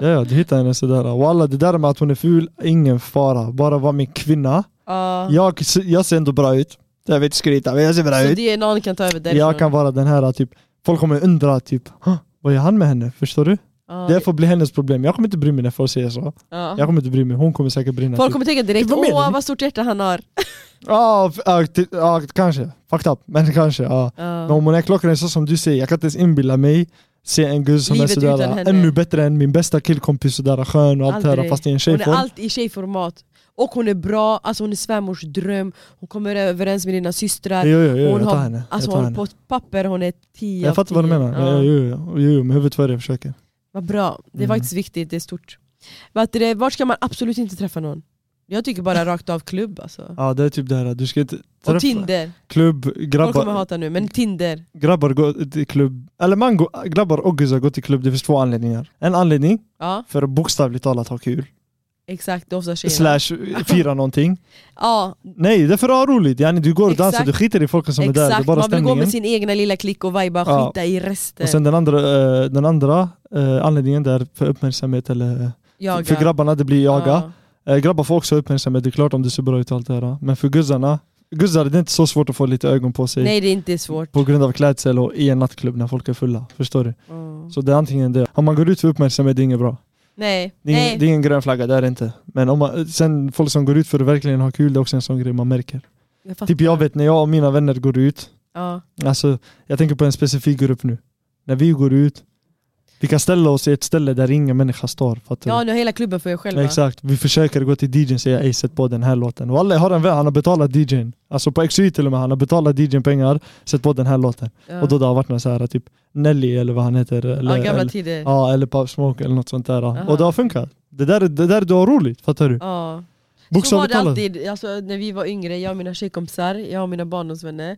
C: ja, ja du hittar henne sådär. Och alla det där med att hon är ful, ingen fara. Bara vara min kvinna.
B: Ja.
C: Jag, se- jag ser ändå bra ut. Jag vet inte skryta men jag ser bra
B: Så
C: ut.
B: det är någon kan ta över därifrån.
C: Jag kan vara den här typ, folk kommer undra typ "Hå, vad gör han med henne? Förstår du?
B: Ja.
C: Det får bli hennes problem. Jag kommer inte bry mig när folk säger så.
B: Ja.
C: Jag kommer inte bry mig, hon kommer säkert brinna.
B: Folk
C: typ.
B: kommer tänka direkt
C: Vad menar
B: åh
C: ni?"
B: vad stort hjärta han har.
C: Ja, f- ja, t- ja, kanske. Fucked up. Men kanske. Ja. Men
B: Ja.
C: om hon är klockren så som du säger, jag kan inte ens inbilla mig se en gud som
B: Livet
C: är
B: utan
C: sådär
B: henne.
C: ännu bättre än min bästa killkompis, sådär skön och allt det här
B: Aldrig.
C: fast i en
B: Hon är
C: tjejform.
B: allt i tjejformat. Och hon är bra, alltså hon är svärmors dröm, hon kommer överens med dina systrar.
C: Jo, jo, jo,
B: hon
C: jag tar
B: har-
C: henne.
B: Alltså
C: jag tar
B: hon
C: henne.
B: på ett papper hon är 10
C: Jag fattar vad du menar. Ja.
B: Ja.
C: Jo, jo, jo, jo, med huvudet före jag försöker.
B: Vad bra, det är
C: Mm.
B: faktiskt viktigt, det är stort. Vet du, det, vart ska man absolut inte träffa någon? Jag tycker bara rakt av klubb alltså.
C: Ja, det är typ det här. Du ska inte
B: Och
C: träffa
B: Tinder,
C: klubb,
B: folk kommer
C: grabbar,
B: hata nu, men Tinder.
C: grabbar går till klubb. Eller man går, grabbar och guzzar går till klubb, det finns två anledningar. En anledning,
B: Ja.
C: för att bokstavligt talat ha kul.
B: Exakt, det är ofta tjejerna.
C: Slash fira någonting.
B: Ja,
C: Nej, det är för att ha roligt. Yani, du går och dansar,
B: Exakt.
C: du skiter i folken som är där. Det är
B: exakt.
C: bara
B: Man vill gå
C: stämningen.
B: med sin egna lilla klick och vibea,
C: Ja.
B: skita i resten.
C: Och sen den andra, eh, den andra eh, anledningen där för uppmärksamhet eller
B: Jaga.
C: för grabbarna det blir jaga.
B: Ja.
C: Eh, Grabbar får också uppmärksamhet, det är klart om du ser bra ut och allt det här. Men för guzzarna, guzzar det är inte så svårt att få lite ögon på sig.
B: Nej det är inte svårt.
C: På grund av klädsel och i en nattklubb när folk är fulla. Förstår du?
B: Ja.
C: Så det är antingen det. Om man går ut för uppmärksamhet, det är inget bra.
B: Nej,
C: Det är ingen, det
B: nej.
C: är ingen grön flagga, det är det inte. Men om man, sen folk som går ut för att verkligen ha kul, det är också en sån grej man märker.
B: Jag fattar.
C: Typ jag vet när jag och mina vänner går ut,
B: Ja.
C: alltså jag tänker på en specifik grupp nu. När vi går ut, vi kan ställa oss i ett ställe där ingen människa står. Fattar du?
B: ja, nu har hela klubben för er själva.
C: Exakt, vi försöker gå till DJn och säga ey sätt på den här låten. Och alla har en vän, han har betalat DJn. Alltså på XY till och med, han har betalat DJn pengar, sätt på den här låten.
B: Ja.
C: Och då det har varit någon så här typ Nelly eller vad han heter. Eller,
B: ja, gamla
C: eller,
B: tider. Ja.
C: ja, eller Pop Smoke eller något sånt där.
B: Aha.
C: Och det har funkat. Det där, det där du har roligt, fattar du?
B: Så var
C: Bokstavligt
B: det
C: talat.
B: alltid, alltså, när vi var yngre, jag och mina tjejkompisar, jag och mina barndomsvänner.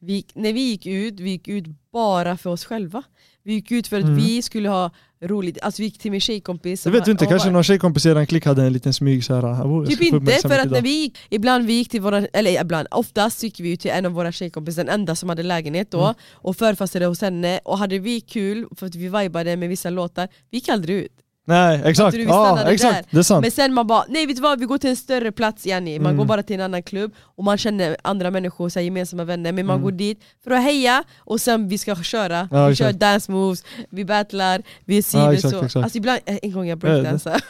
B: Vi, gick- när vi gick ut, vi gick ut bara för oss själva. Vi gick ut för att
C: Mm.
B: vi skulle ha roligt, alltså vi gick till min tjejkompis.
C: Det
B: som
C: vet du
B: var-
C: inte,
B: hon
C: kanske
B: var-
C: någon tjejkompis i en klick hade en liten smyg så här. "Oh, jag ska
B: Typ
C: få
B: inte, för
C: uppmärksamhet
B: att
C: idag."
B: när vi gick, ibland vi gick till våra, eller ibland, oftast gick vi ju till en av våra tjejkompisar, den enda som hade lägenhet då,
C: Mm.
B: och förfestade hos henne, och hade vi kul, för att vi vibade med vissa låtar, vi gick aldrig ut.
C: Nej, exakt.
B: du vi
C: Ja,
B: stannade
C: exakt. Det är sant.
B: Men sen man bara, nej vet du vad, vi går till en större plats yani, man
C: Mm.
B: går bara till en annan klubb, och man känner andra människor, så här, gemensamma vänner, men man
C: Mm.
B: går dit för att heja, och sen vi ska köra,
C: Ja,
B: vi
C: exakt.
B: kör dance moves, vi battlar, vi är si,
C: Ja,
B: vi är
C: exakt,
B: så.
C: exakt.
B: Alltså ibland, en gång jag
C: Ja, det-
B: breakdansade,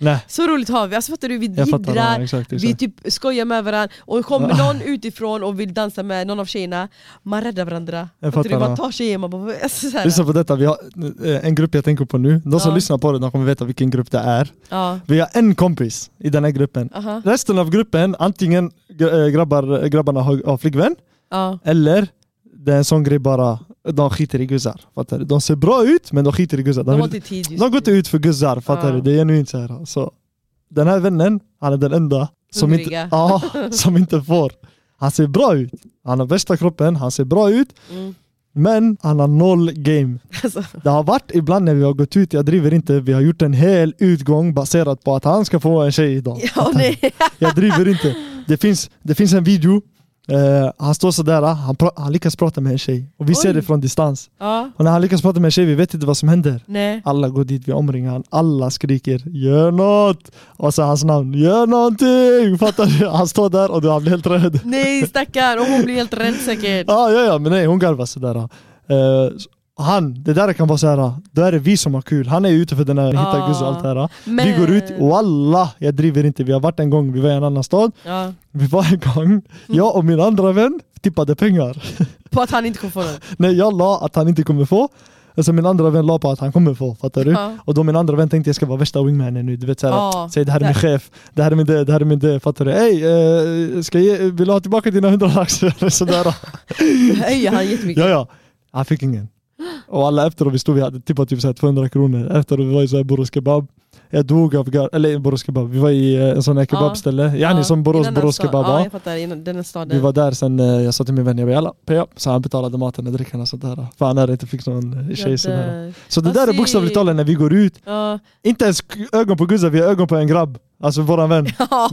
C: Nej,
B: så roligt har vi, alltså fattar du, vi
C: jag fattar.
B: jiddrar,
C: Ja, exakt,
B: vi
C: exakt.
B: typ skojar med varandra, och kommer någon utifrån och vill dansa med någon av tjejerna, man räddar varandra.
C: Jag
B: Fattar du?
C: fattar,
B: Man
C: ja.
B: tar tjejer, man bara... Alltså, så här.
C: Lyssna på detta, vi har eh, en grupp jag tänker på nu. De som
B: Ja.
C: lyssnar på det de kommer veta vilken grupp det är.
B: Ja.
C: Vi har en kompis i den här gruppen.
B: Aha.
C: Resten av gruppen, antingen gr- eh, grabbar, grabbarna har, har flickvän,
B: Ja.
C: eller det är en sån grej bara, de skiter i guzzar. Fattar du? De ser bra ut men de skiter i guzzar.
B: De
C: De,
B: har
C: vill,
B: inte tid just
C: de går inte ut för guzzar, fattar
B: Ja.
C: du? Det är genuint så här. Så, den här vännen, han är den enda som inte,
B: Hungriga.
C: ja, som inte får. Han ser bra ut. Han har bästa kroppen, han ser bra ut,
B: Mm.
C: men han har noll game.
B: Alltså,
C: Det har varit ibland när vi har gått ut, jag driver inte, vi har gjort en hel utgång baserat på att han ska få en tjej idag.
B: ja, nej.
C: Jag driver inte. Det finns, det finns en video, eh, han står sådär, han, pra- han lyckas prata med en tjej. Och vi ser
B: Oj.
C: det från distans.
B: Ja.
C: Och när han lyckas prata med en tjej, vi vet inte vad som händer.
B: Nej.
C: Alla går dit, vi omringar han, alla skriker 'Gör något!' Och så hans namn 'Gör någonting!' Fattar du? Han står där och han blir helt röd.
B: nej stackarn, och hon blir helt rädd säkert.
C: Ja, ja, ja, men nej, hon garvar sådär. Eh, han, det där kan vara såhär, då är det vi som har kul. Han är ute för den här hitta
B: Ah.
C: guss och allt det här.
B: Men...
C: Vi går ut, wallah, jag driver inte. Vi har varit en gång, vi var i en annan stad.
B: Ja.
C: Vi var en gång, jag och min andra vän tippade pengar.
B: På att han inte kommer få den.
C: Nej, jag la att han inte kommer få. Alltså min andra vän la på att han kommer få, fattar du?
B: Ja.
C: Och då min andra vän tänkte jag ska vara värsta wingmanen nu, du vet såhär,
B: Ja.
C: säg det här är min chef, det här är min det, det här är min det, fattar du? Ey, eh, ska jag, ge- vill du ha tillbaka dina hundra laxar? Sådär.
B: Höjer han jättemycket.
C: Ja, ja. Han fick ingen. Och alla efteråt vi stod, vi hade tippat typ så här 200 kronor. Efteråt vi var i så här Borås Kebab. Jag dog av gar- eller Borås Kebab, vi var i eh, en sån här kebabställe. Yani som Borås,
B: innan den
C: Borås
B: stan-
C: Kebab.
B: Ja,
C: ja.
B: jag fattar. Innan den här staden.
C: Vi var där sen, eh, jag sa till min vän, jag bara jalla, peja. Så han betalade maten och drickan och sånt där. För han hade inte fick någon eh,
B: Jag
C: tjej. sådär.
B: dör.
C: Så det
B: Vad
C: där är
B: synd.
C: bokstavligt talat när vi går ut.
B: Ja.
C: Inte ens k- ögon på Guzza, vi har ögon på en grabb. Alltså våran vän.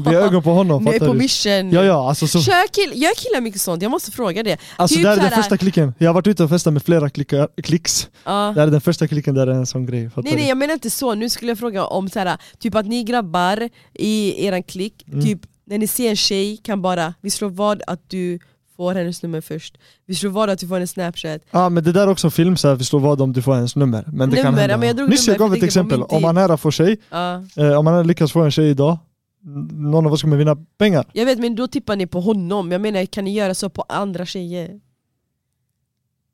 C: Vi har ögon på honom,
B: Nu är
C: fattar
B: på
C: du?
B: mission.
C: Ja, ja, alltså, så,
B: Kör kill, gör killar mycket sånt? Jag måste fråga det.
C: alltså
B: typ
C: det här är den
B: såhär-
C: första klicken. Jag har varit ute och festat med flera klickar, klicks.
B: Ja.
C: Det här är den första klicken där det är en sån grej. Fattar
B: Nej
C: du?
B: nej jag menar inte så, nu skulle jag fråga om så här, typ att ni grabbar i eran klick,
C: Mm.
B: typ när ni ser en tjej kan bara, vi slår vad att du får hennes nummer först, vi slår vad att du får hennes snapchat,
C: Ja men det där är också film, så här, vi slår vad om du får ens nummer. Men det
B: Nummer,
C: kan hända.
B: ja, men jag drog
C: Nyss jag
B: nummer,
C: gav
B: för
C: ett
B: jag tänkte på
C: exempel,
B: min
C: om man nära får tjej,
B: Ja.
C: eh, om man lyckas få en tjej idag, n- någon av oss kommer vinna pengar.
B: Jag vet men då tippar ni på honom, jag menar kan ni göra så på andra tjejer?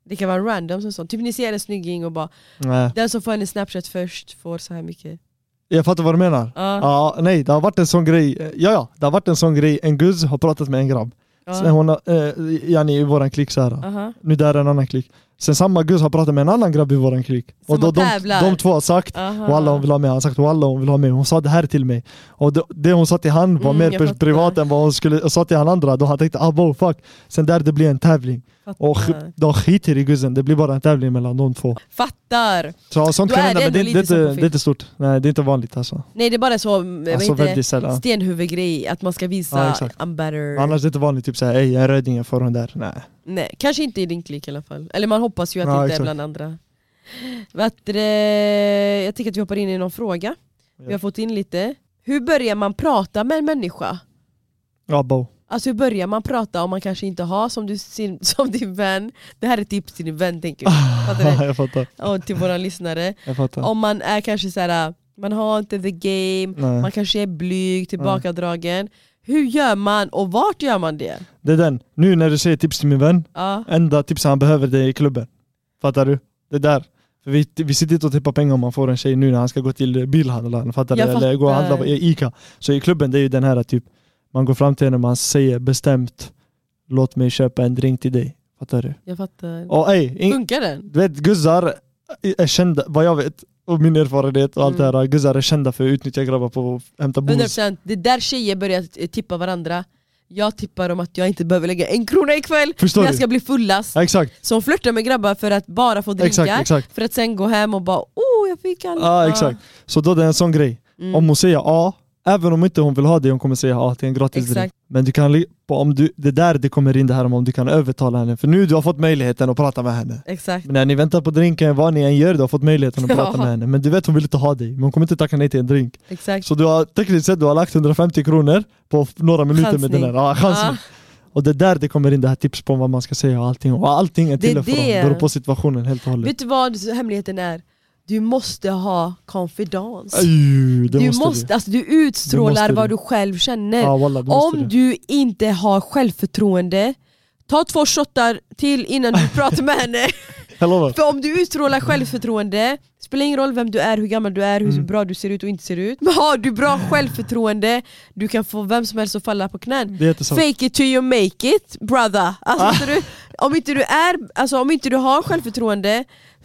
B: Det kan vara random som sånt, typ ni ser en snygging och bara
C: Nej.
B: den som får hennes snapchat först får så här mycket
C: Jag fattar vad du menar.
B: Ja,
C: Ja, nej, det har varit en sån grej, Eh, ja ja, det har varit en sån grej, en guzz har pratat med en grabb.
B: ja.
C: Sen hon, har- eh, yani i våran klick så här.
B: Aha.
C: nu där är en annan klick. Sen samma gus har pratat med en annan grabb i våran klick.
B: Som
C: Och då,
B: har Ah.
C: de,
B: tävlar.
C: de två har sagt
B: Aha.
C: Walla hon vill ha mig, han har sagt walla hon vill ha mig. Hon sa det här till mig. Och det, det hon sa till han var
B: Mm, jag
C: mer pers-
B: fattar.
C: privat än vad hon skulle, och sa till han andra. Då han tänkte ah, wow, fuck. Sen där det blir en tävling.
B: Fattar.
C: Och sk- de skiter i gussen, det blir bara en tävling mellan de två.
B: Fattar!
C: Så, ja, sånt
B: Då
C: kan
B: är
C: hända
B: det
C: men det,
B: ändå
C: det, är
B: lite Mm. som
C: inte,
B: på
C: det
B: film.
C: är inte stort. Nej det är inte vanligt alltså.
B: Nej det är bara så, vad
C: Alltså
B: heter det?
C: väldigt sällan.
B: stenhuvudgrej, att man ska visa
C: Ja, exakt.
B: I'm better.
C: Annars är det inte vanligt typ såhär, ey jag är röding, jag får hon där. Nej.
B: Nej, kanske inte i din klick i alla fall. Eller man hoppas ju att
C: Ja,
B: det inte är
C: exakt.
B: bland andra. Vet du, jag tänker att vi hoppar in i någon fråga. Vi
C: Ja.
B: har fått in lite. Hur börjar man prata med en människa?
C: Ja, bo.
B: Alltså hur börjar man prata om man kanske inte har som, du, sin, som din vän? Det här är tips till din vän tänker jag. Fattar du?
C: jag fattar.
B: Och till våra lyssnare.
C: Jag fattar.
B: Om man är kanske så här, äh, man har inte the game,
C: Nej.
B: man kanske är blyg, tillbakadragen. Hur gör man och vart gör man det?
C: Det är den. Nu när du säger tips till min vän,
B: Ja,
C: enda tipset han behöver det är i klubben. Fattar du? Det där. För vi, vi sitter inte och tippar pengar om man får en tjej nu när han ska gå till bilhandlaren, fattar du?
B: Jag
C: Eller gå och handla
B: fattar.
C: på Ica. Så i klubben det är ju den här typ, man går fram till henne och man säger bestämt Låt mig köpa en drink till dig. Fattar du?
B: jag fattar.
C: Och ey, in,
B: Funkar den?
C: Du vet guzzar är kända, vad jag vet och min erfarenhet och allt
B: Mm.
C: det här, guzzar är kända för att utnyttja grabbar på att hämta booze.
B: 100% Det är där tjejer börjar t- tippa varandra. Jag tippar om att jag inte behöver lägga en krona ikväll
C: Förstår
B: när jag
C: du?
B: ska bli fullast.
C: Ja, Exakt,
B: Så hon flörtar med grabbar för att bara få
C: exakt,
B: drinkar,
C: exakt.
B: för att sen gå hem och bara oh jag fick alla.
C: Ja, exakt. Så då är det en sån grej.
B: Mm.
C: Om hon säger ja, även om inte hon vill ha det, hon kommer säga ja till en gratis
B: Exakt.
C: drink. Men du kan, li- på- om du, det är där det kommer in det här med om du kan övertala henne. För nu du har fått möjligheten att prata med henne.
B: Exakt.
C: Men när ni väntar på drinken, vad ni än gör, du har fått möjligheten att prata
B: Ja.
C: med henne. Men du vet hon vill inte ha dig, men hon kommer inte tacka nej till en drink.
B: exakt.
C: Så du har tekniskt sett du har lagt 150 kronor på f- några minuter med
B: Chansning.
C: den här. Ja, chansning. Och det är där det kommer in det här tips på vad man ska säga och allting. Och allting är
B: Det
C: till
B: är
C: och från,
B: det.
C: beror på situationen helt och hållet.
B: Vet du vad hemligheten är? Du måste ha konfidens.
C: Aj, det
B: Du
C: måste,
B: måste, alltså, du
C: Det
B: utstrålar
C: måste
B: vad
C: du.
B: du själv
C: du.
B: känner.
C: Ja, wallah, det måste
B: Om
C: du.
B: du inte har självförtroende, ta två shottar till innan du pratar med henne.
C: Jag lovar.
B: För om du utstrålar självförtroende, spelar ingen roll vem du är, hur gammal du är, hur
C: Mm.
B: bra du ser ut och inte ser ut. Men har du bra självförtroende, du kan få vem som helst att falla på knän.
C: Det är jättesant.
B: Fake it till you make it brother. Alltså,
C: Ah.
B: fattar du, om, inte du är, alltså, om inte du har självförtroende,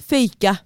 B: fejka.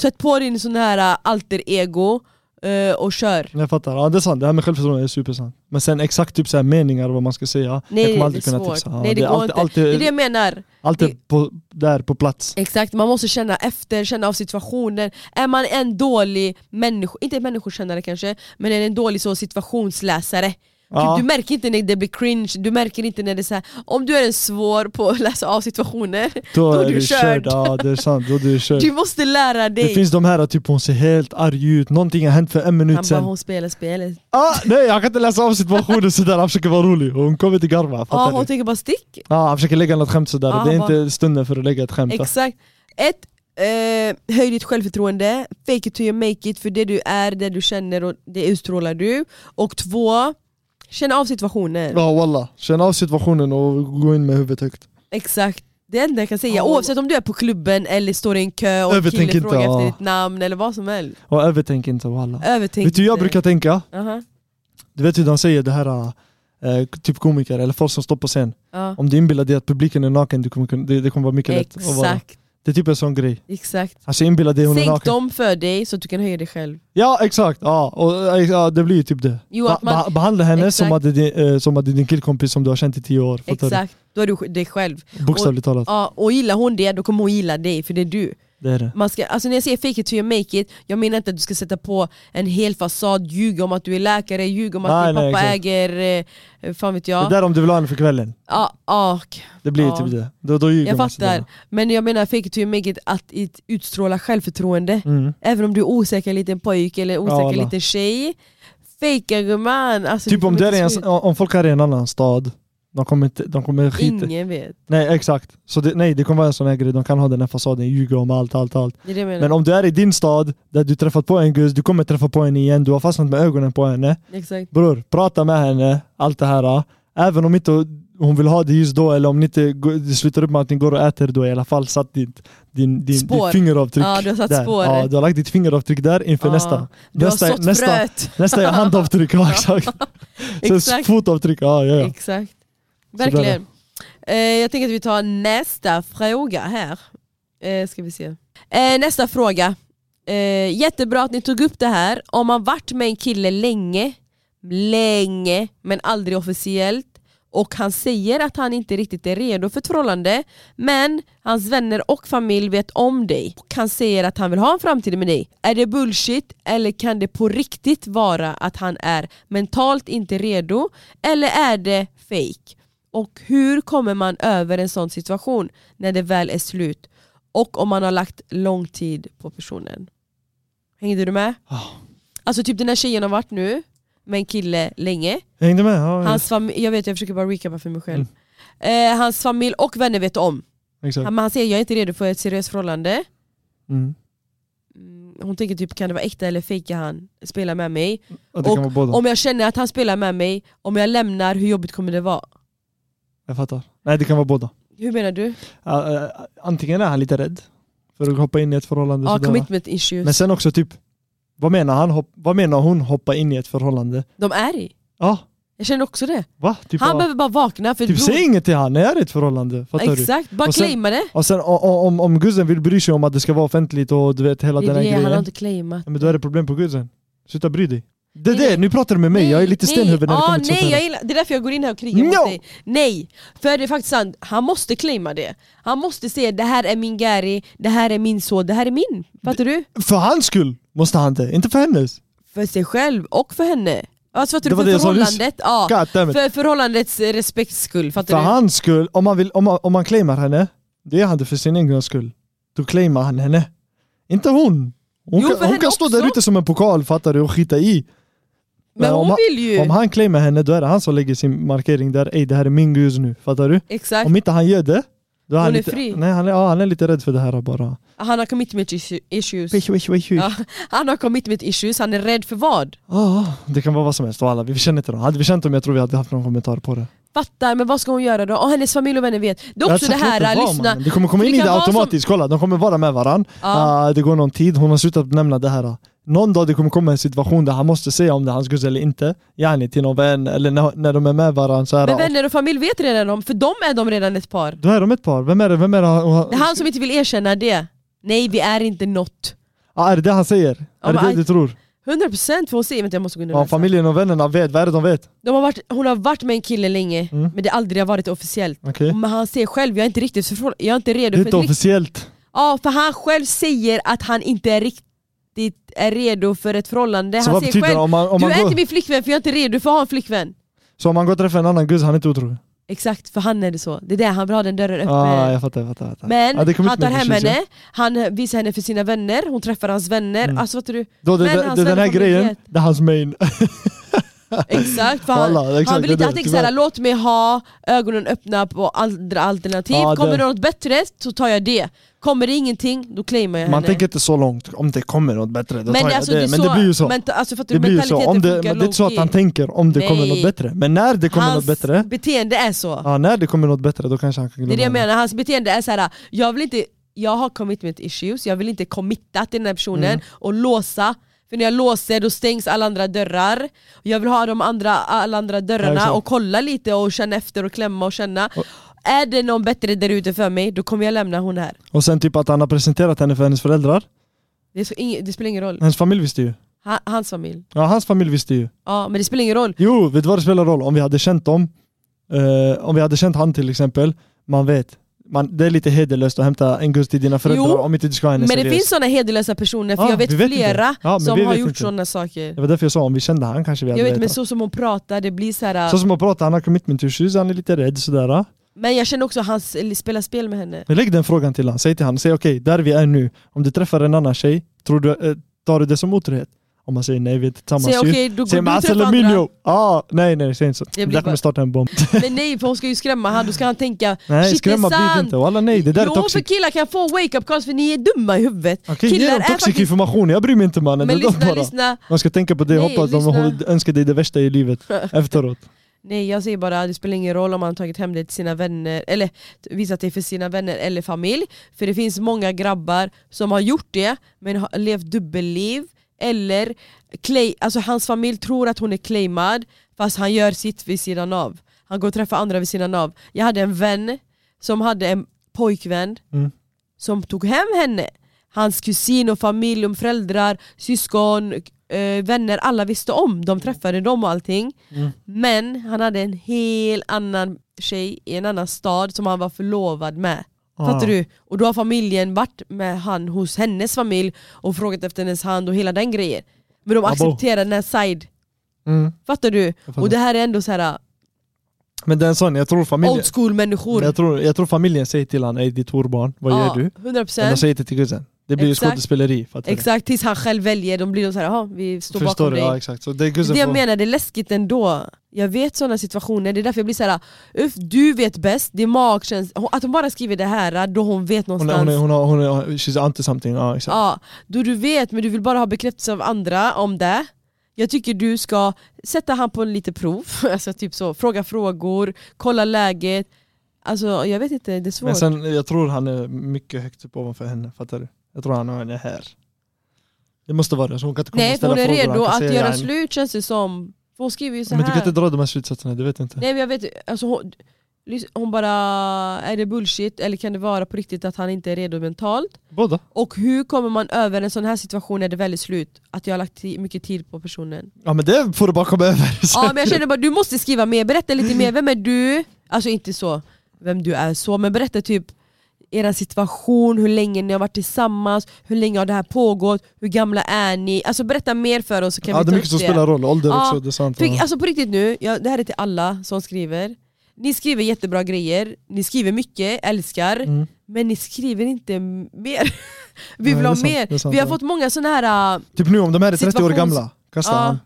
B: Sätt på din sån här äh, alter ego eh, och kör.
C: Jag fattar, ja, det är sant. Det här med självförtroende är supersant. Men sen exakt typ så här meningar vad man ska säga,
B: Nej,
C: jag
B: det
C: kommer
B: är
C: aldrig kunna
B: svårt.
C: tipsa. Ja,
B: Nej, det
C: är
B: går
C: alltid,
B: inte.
C: alltid,
B: Det är det jag menar.
C: alltid
B: det-
C: På, där på plats.
B: Exakt, man måste känna efter, känna av situationen. Är man en dålig människa, inte en människokännare kanske, men är en dålig så situationsläsare.
C: Ja.
B: Typ, du märker inte när det blir cringe, du märker inte när det är så här. om du är en svår på att läsa av situationer,
C: Då,
B: är
C: är
B: du
C: du
B: körd. Typ
C: körd. Ja, det är sant. Då är du körd.
B: du måste lära dig.
C: Det finns de här, typ hon ser helt arg ut, någonting har hänt för en minut
B: Han bara
C: sen.
B: hon spelar spelet.
C: Ah, nej jag kan inte läsa av situationen sådär, han försöker vara rolig. Hon kommer till garva,
B: Ja,
C: fattar
B: hon
C: du?
B: tänker bara stick.
C: Ah, han försöker lägga något skämt sådär,
B: Ja,
C: det är
B: han
C: inte stunden för att lägga ett skämt.
B: Exakt. Ett, eh, höj ditt självförtroende, fake it till you make it, för det du är, det du känner och det utstrålar du. Och två, känn av situationer.
C: Ja wallah, känn av situationen och gå in med huvudet högt.
B: Exakt, det enda jag kan säga.
C: Ja,
B: Oavsett om du är på klubben eller står i en kö och en
C: Övertänk
B: kille
C: inte,
B: frågar
C: ja.
B: efter ditt namn eller vad som helst.
C: Och övertänk inte wallah.
B: Övertänk
C: Vet du jag
B: inte.
C: brukar tänka?
B: Aha,
C: Du vet hur de säger det här, eh, typ komiker eller folk som står på scen.
B: ja.
C: Om du inbillar dig att publiken är naken, du kommer, kunna- det, det kommer vara mycket lätt att vara.
B: Exakt,
C: Det är typ en sån grej.
B: exakt.
C: Alltså inbilla dig hon är
B: Sänk
C: naken.
B: dem för dig så att du kan höja dig själv.
C: Ja exakt, ja, och, ja, det blir ju typ det.
B: Jo, att man-
C: Ba- ba- behandla henne
B: Exakt.
C: som att, det, är din- eh, som att det är din killkompis som du har känt i tio år. fattar du?
B: Exakt, då är du sk- dig själv.
C: Bokstavligt talat,
B: Ja, och gillar hon det, då kommer hon gilla dig för det är du.
C: det är det.
B: Man ska, alltså när jag säger fake it till you make it, jag menar inte att du ska sätta på en hel fasad, ljuga om att du är läkare, ljuga om att
C: Nej,
B: din
C: nej,
B: pappa
C: exakt.
B: äger, eh, fan vet jag.
C: Det där om du vill ha henne för kvällen,
B: Ja, och,
C: det blir ju
B: Ja.
C: typ det. Då, då ljuger
B: jag
C: man
B: fattar.
C: sådär.
B: Men jag menar fake it till you make it, att it- utstråla självförtroende.
C: Mm.
B: Även om du är osäker liten pojk eller osäker
C: alla.
B: liten tjej. Fejka gumman. Alltså,
C: Typ om, det
B: kommer inte
C: är en,
B: se ut.
C: om folk är i en annan stad, de kommer, inte, de kommer skita
B: Ingen vet.
C: Nej exakt, så det, nej, det kommer vara en sån här grej, de kan ha den här fasaden, ljuga om allt, allt, allt.
B: Det är det jag menar.
C: Men om du är i din stad, där du träffat på en gus, du kommer träffa på henne igen, du har fastnat med ögonen på henne.
B: Exakt.
C: Bror, prata med henne, allt det här. Även om inte hon vill ha det just då, eller om ni inte går- det slutar upp med att ni går och äter då, i alla fall satt ditt, din, din,
B: Spår.
C: ditt fingeravtryck
B: Ja, du har satt
C: där.
B: spåret.
C: Ja, du har lagt ditt fingeravtryck där inför
B: Ja.
C: nästa.
B: Du
C: Nästa,
B: har sått
C: nästa,
B: fröet.
C: nästa är handavtryck, ja, exakt. Sen
B: Exakt.
C: fotavtryck, ja, ja, ja.
B: Exakt.
C: där.
B: Verkligen. Eh, jag tänker att vi tar nästa fråga här. Eh, ska vi se. Eh, nästa fråga. Eh, jättebra att ni tog upp det här. Om man varit med en kille länge, länge men aldrig officiellt och han säger att han inte riktigt är redo för ett förhållande men hans vänner och familj vet om dig och han säger att han vill ha en framtid med dig. Är det bullshit eller kan det på riktigt vara att han är mentalt inte redo eller är det fake? Och hur kommer man över en sån situation när det väl är slut? Och om man har lagt lång tid på personen. Hängde du med?
C: Ja.
B: Alltså typ den här tjejen har varit nu med en kille länge.
C: Hängde med? Ja,
B: Hans familj, jag vet jag försöker bara recapa för mig själv. Eh, hans familj och vänner vet om.
C: exakt.
B: Han, men han säger jag är inte redo för ett seriöst förhållande.
C: Mm.
B: Mm, Hon tänker typ kan det vara äkta eller fejkar han spela med mig?
C: Ja, det kan vara båda.
B: Om jag känner att han spelar med mig, om jag lämnar, hur jobbigt kommer det vara?
C: Jag fattar. Nej, det kan vara båda.
B: Hur menar du?
C: Ja, eh, antingen är han lite rädd för att hoppa in i ett förhållande.
B: Ja,
C: sådär.
B: commitment issues.
C: Men sen också typ, vad menar, han, hop- vad menar hon hoppa in i ett förhållande?
B: De är i.
C: Ja,
B: Jag känner också det.
C: va? Typ,
B: han
C: ja.
B: behöver bara vakna. För
C: typ
B: då-
C: säg inget till han, när jag är i ett förhållande. Fattar du?
B: Exakt, bara
C: Och sen-
B: claima det.
C: Och sen o- o- om, om gudsen vill bry sig om att det ska vara offentligt och du vet hela
B: Det är
C: den här
B: det, han har
C: grejen.
B: inte claimat.
C: Ja, men då är det problem på gudsen. Sluta bry dig. Det är
B: Nej,
C: det, nu pratar du med mig, jag är lite
B: nej,
C: stenhuvud när det
B: ja,
C: kommer till sånt
B: nej,
C: här.
B: jag gillar, Det är därför jag går in här och krigar
C: No!
B: mot dig. Nej, för det är faktiskt sant. Han måste claima det. Han måste säga det här är min Gary, det här är min son, det här är min. Fattar du?
C: För hans skull måste han det, inte för hennes.
B: För sig själv och för henne. Alltså fattar
C: Det
B: du?
C: var
B: För
C: det jag sa nyss.
B: förhållandet. Ja,
C: God damn it.
B: för förhållandets eh, respekts skull. Fattar
C: För
B: du?
C: hans skull, om han, vill, om, han, om han claimar henne, det gör han det för sin egen skull. Då claimar han henne. Inte hon. Hon
B: Jo, för
C: kan, hon
B: henne
C: kan stå
B: också.
C: där ute som en pokal fattar du och skita i.
B: Men
C: Men om
B: hon
C: han-
B: vill ju.
C: Om han claimar henne då är det han som lägger sin markering där, ey det här är min gud nu, fattar du?
B: Exakt.
C: Om inte han gör det, då är han,
B: Äh. Hon är
C: lite,
B: fri.
C: Nej, han, är, ja, han är lite rädd för det här bara.
B: Han har commitment issu- issues.
C: Wish, wish, wish, wish.
B: Ja. Han har commitment issues, han är rädd för vad?
C: Ah, det kan vara vad som helst och alla, vi känner inte dem. Hade vi känt dem jag tror vi hade haft någon kommentar på det.
B: Fattar, men vad ska hon göra då? Oh, hennes familj och vänner vet. Det är också det
C: Jag har sagt,
B: här,
C: låt
B: äh,
C: vara,
B: lyssna.
C: mannen. Det kommer komma
B: För
C: in
B: det
C: i
B: kan
C: det
B: vara som-
C: automatiskt, kolla de kommer vara med varandra.
B: Ja.
C: Ah, det går någon tid, hon har slutat nämna det här. Någon dag det kommer komma en situation där han måste säga om det är hans guzz eller inte. Yani till någon vän eller när, när de är med varandra. Så här,
B: Men vänner och familj vet redan om, för de är de redan ett par.
C: Då är de ett par. Vem är det? Vem är det? han-
B: Det är han som inte vill erkänna det. Nej vi är inte något.
C: Ah, är det det han säger?
B: Ja,
C: är det
B: men
C: det
B: I-
C: du tror?
B: 100% får hon se, vänta jag måste gå in och
C: Ja,
B: läsa.
C: familjen och vännerna vet, vad är det de vet?
B: de har varit, Hon har varit med en kille länge,
C: Mm.
B: men det har aldrig har varit officiellt.
C: Okej.
B: Men han säger själv, jag är inte riktigt förfrågad, jag är inte
C: Det
B: redo
C: är
B: för ett
C: inte
B: rikt-
C: officiellt.
B: Ja, för han själv säger att han inte är riktigt är redo för ett förhållande.
C: Så
B: han
C: vad
B: säger
C: betyder
B: själv,
C: det? Om man, om
B: du
C: man
B: är inte
C: går,
B: min flickvän för jag är inte redo för att ha en flickvän.
C: så om man går och träffar en annan guzz, han är inte otrogen?
B: Exakt, för han är det så. Det är det, han vill ha den dörren öppen.
C: Ah, jag fattar, jag fattar. Jag fattar.
B: Men
C: Ja, det kommer
B: han
C: inte
B: tar
C: med
B: hem
C: precis, ja.
B: henne, han visar henne för sina vänner, hon träffar hans vänner.
C: Mm.
B: Alltså fattar du?
C: Då, det,
B: Men
C: det,
B: hans
C: det, den här
B: vänner kommer
C: grejen,
B: inte
C: det är hans main.
B: Exakt, för han,
C: Alla, exakt,
B: han vill
C: det
B: inte,
C: är
B: han
C: det,
B: tänker såhär, låt mig ha ögonen öppna på andra alternativ.
C: Ja, det-
B: Kommer det något bättre så tar jag det. Kommer det ingenting, då claimar jag
C: Man
B: henne.
C: tänker inte så långt, om det kommer något bättre då tar jag det. Men
B: alltså, så-
C: det blir ju så.
B: Men, alltså, för att
C: det blir ju så. Om det, men det är inte så att han tänker om det kommer
B: Nej.
C: något bättre. Men när det kommer
B: Hans
C: något bättre,
B: beteende är så.
C: ja, när det kommer något bättre då kanske han kan glömma
B: Det är det jag menar, hans beteende är så här. jag vill inte, jag har commitment issues, jag vill inte committa till den här personen
C: Mm.
B: och låsa, för när jag låser då stängs alla andra dörrar Jag vill ha de andra, alla andra
C: Ja,
B: dörrarna
C: exakt.
B: och kolla lite och känna efter och klämma och känna Är det någon bättre där ute för mig, då kommer jag lämna hon här
C: Och sen typ att han har presenterat henne för hennes föräldrar.
B: Det, är så ing- det spelar ingen roll,
C: Hennes familj visste ju.
B: ha, hans familj
C: Ja, hans familj visste ju.
B: Ja men det spelar ingen roll
C: Jo, vet du vad det spelar roll? Om vi hade känt dem, eh, om vi hade känt han till exempel, man vet. Man, det är lite hederlöst att hämta en guzz till dina föräldrar
B: Jo,
C: om inte du ska ha henne
B: Men det
C: seriöst.
B: finns sådana hederlösa personer, för
C: Ja,
B: jag vet,
C: vi vet inte.
B: flera
C: Ja, men
B: som
C: vi
B: har
C: vet
B: gjort
C: inte.
B: sådana saker
C: Det var därför jag sa om vi kände han kanske vi hade
B: Jag vet men
C: vetat.
B: så som hon pratar, det blir så här.
C: Så som att prata, han har commitment issues, han är lite rädd sådär.
B: Men jag känner också att han s- spelar spel med henne
C: Men lägg den frågan till han. Säg till han, säg okej, där vi är nu, om du träffar en annan tjej, tror du, eh, tar du det som otrohet? Om man säger nej, vi är inte tillsammans
B: Säg okej,
C: ju.
B: då går
C: Säg
B: du
C: med
B: och träffar andra.
C: Asselamilio! Ah, nej nej, säg inte så. Det
B: blir
C: där
B: bara-
C: kommer starta en bomb.
B: Men nej för hon ska ju skrämma han, då ska han tänka
C: Nej,
B: Shit,
C: skrämma
B: det är
C: blir det
B: sant.
C: inte. Walla nej, det där
B: Jo
C: är
B: för
C: toxic.
B: killar kan få wake-up calls för ni är dumma i huvudet
C: Okej, ge
B: killar är
C: dem toxic
B: faktiskt-
C: information, jag bryr mig inte mannen.
B: Men
C: det är de
B: lyssna,
C: bara.
B: lyssna
C: De ska tänka på det och
B: Nej,
C: hoppas de
B: lyssna.
C: hon önskar dig det värsta i livet efteråt.
B: Nej jag säger bara, det spelar ingen roll om han tagit hem det till sina vänner Eller visat det för sina vänner eller familj För det finns många grabbar som har gjort det Men har levt dubbelliv Eller, clay, alltså hans familj tror att hon är claimad Fast han gör sitt vid sidan av Han går och träffar andra vid sidan av Jag hade en vän som hade en pojkvän
C: Mm.
B: som tog hem henne. Hans kusin och familj, och föräldrar, syskon, eh, vänner, alla visste om. De träffade dem och allting.
C: Mm.
B: Men han hade en helt annan tjej i en annan stad som han var förlovad med.
C: Ah.
B: Fattar du? Och då har familjen varit med han hos hennes familj och frågat efter hennes hand och hela den grejen. Men de
C: Abo.
B: accepterar den här side,
C: Mm.
B: fattar du?
C: jag fattar.
B: Och det här är ändå så här uh,
C: Men det är en sån, jag tror familjen
B: old school människor.
C: jag tror, jag tror familjen säger till honom Ey ditt horbarn, vad gör du?
B: Ja, 100%.
C: Men de säger inte till kusen Det blir ju
B: Exakt.
C: skådespeleri, fattar du?
B: Exakt, tills han själv väljer, de blir då såhär, jaha vi står
C: Förstår
B: bakom
C: du?
B: dig.
C: Ja exakt, så det är
B: det
C: kusen
B: är det jag
C: får-
B: menar, det är läskigt ändå. Jag vet sådana situationer, det är därför jag blir såhär, uff du vet bäst, det är magkänsla. Att hon bara skriver det här då hon vet
C: hon,
B: någonstans.
C: är- hon, är- hon, har- hon, hon, she's anti something, ja exakt
B: Ja, då du vet men du vill bara ha bekräftelse av andra om det. Jag tycker du ska sätta han på lite prov, alltså typ så, fråga frågor, kolla läget. Alltså jag vet inte, det är svårt.
C: Men sen, jag tror han är mycket högt upp ovanför henne, fattar du? Jag tror han han är här Det måste vara det, så hon kan inte komma
B: Nej
C: och
B: för
C: ställa
B: hon är
C: frågor han
B: redo
C: kan
B: att
C: säga
B: göra
C: ja,
B: slut känns det som. För hon skriver ju så
C: Men du
B: här.
C: kan inte dra de här slutsatserna, du vet inte
B: Nej men jag vet alltså hon, lys- hon bara, är det bullshit eller kan det vara på riktigt att han inte är redo mentalt?
C: Båda?
B: Och hur kommer man över en sån här situation när det väl är slut? Att jag har lagt ti- mycket tid på personen.
C: Ja men det får du bara komma över
B: Ja men jag känner bara, du måste skriva mer, berätta lite mer, vem är du? Alltså inte så, vem du är så, men berätta typ er situation, hur länge ni har varit tillsammans, hur länge har det här pågått, hur gamla är ni? Alltså berätta mer för oss så kan
C: Ja
B: vi
C: det
B: ta
C: är
B: upp
C: mycket som spelar roll, ålder
B: Ja,
C: också, det är sant
B: För,
C: ja.
B: alltså på riktigt nu, ja, det här är till alla som skriver. Ni skriver jättebra grejer, ni skriver mycket, älskar,
C: Mm.
B: men ni skriver inte mer. Vi
C: Nej,
B: vill
C: det är
B: ha
C: sant, det är
B: mer.
C: sant,
B: vi har
C: ja.
B: fått många sådana här äh,
C: Typ nu om de här är 30 år
B: Situations-
C: gamla, kasta
B: Ja.
C: han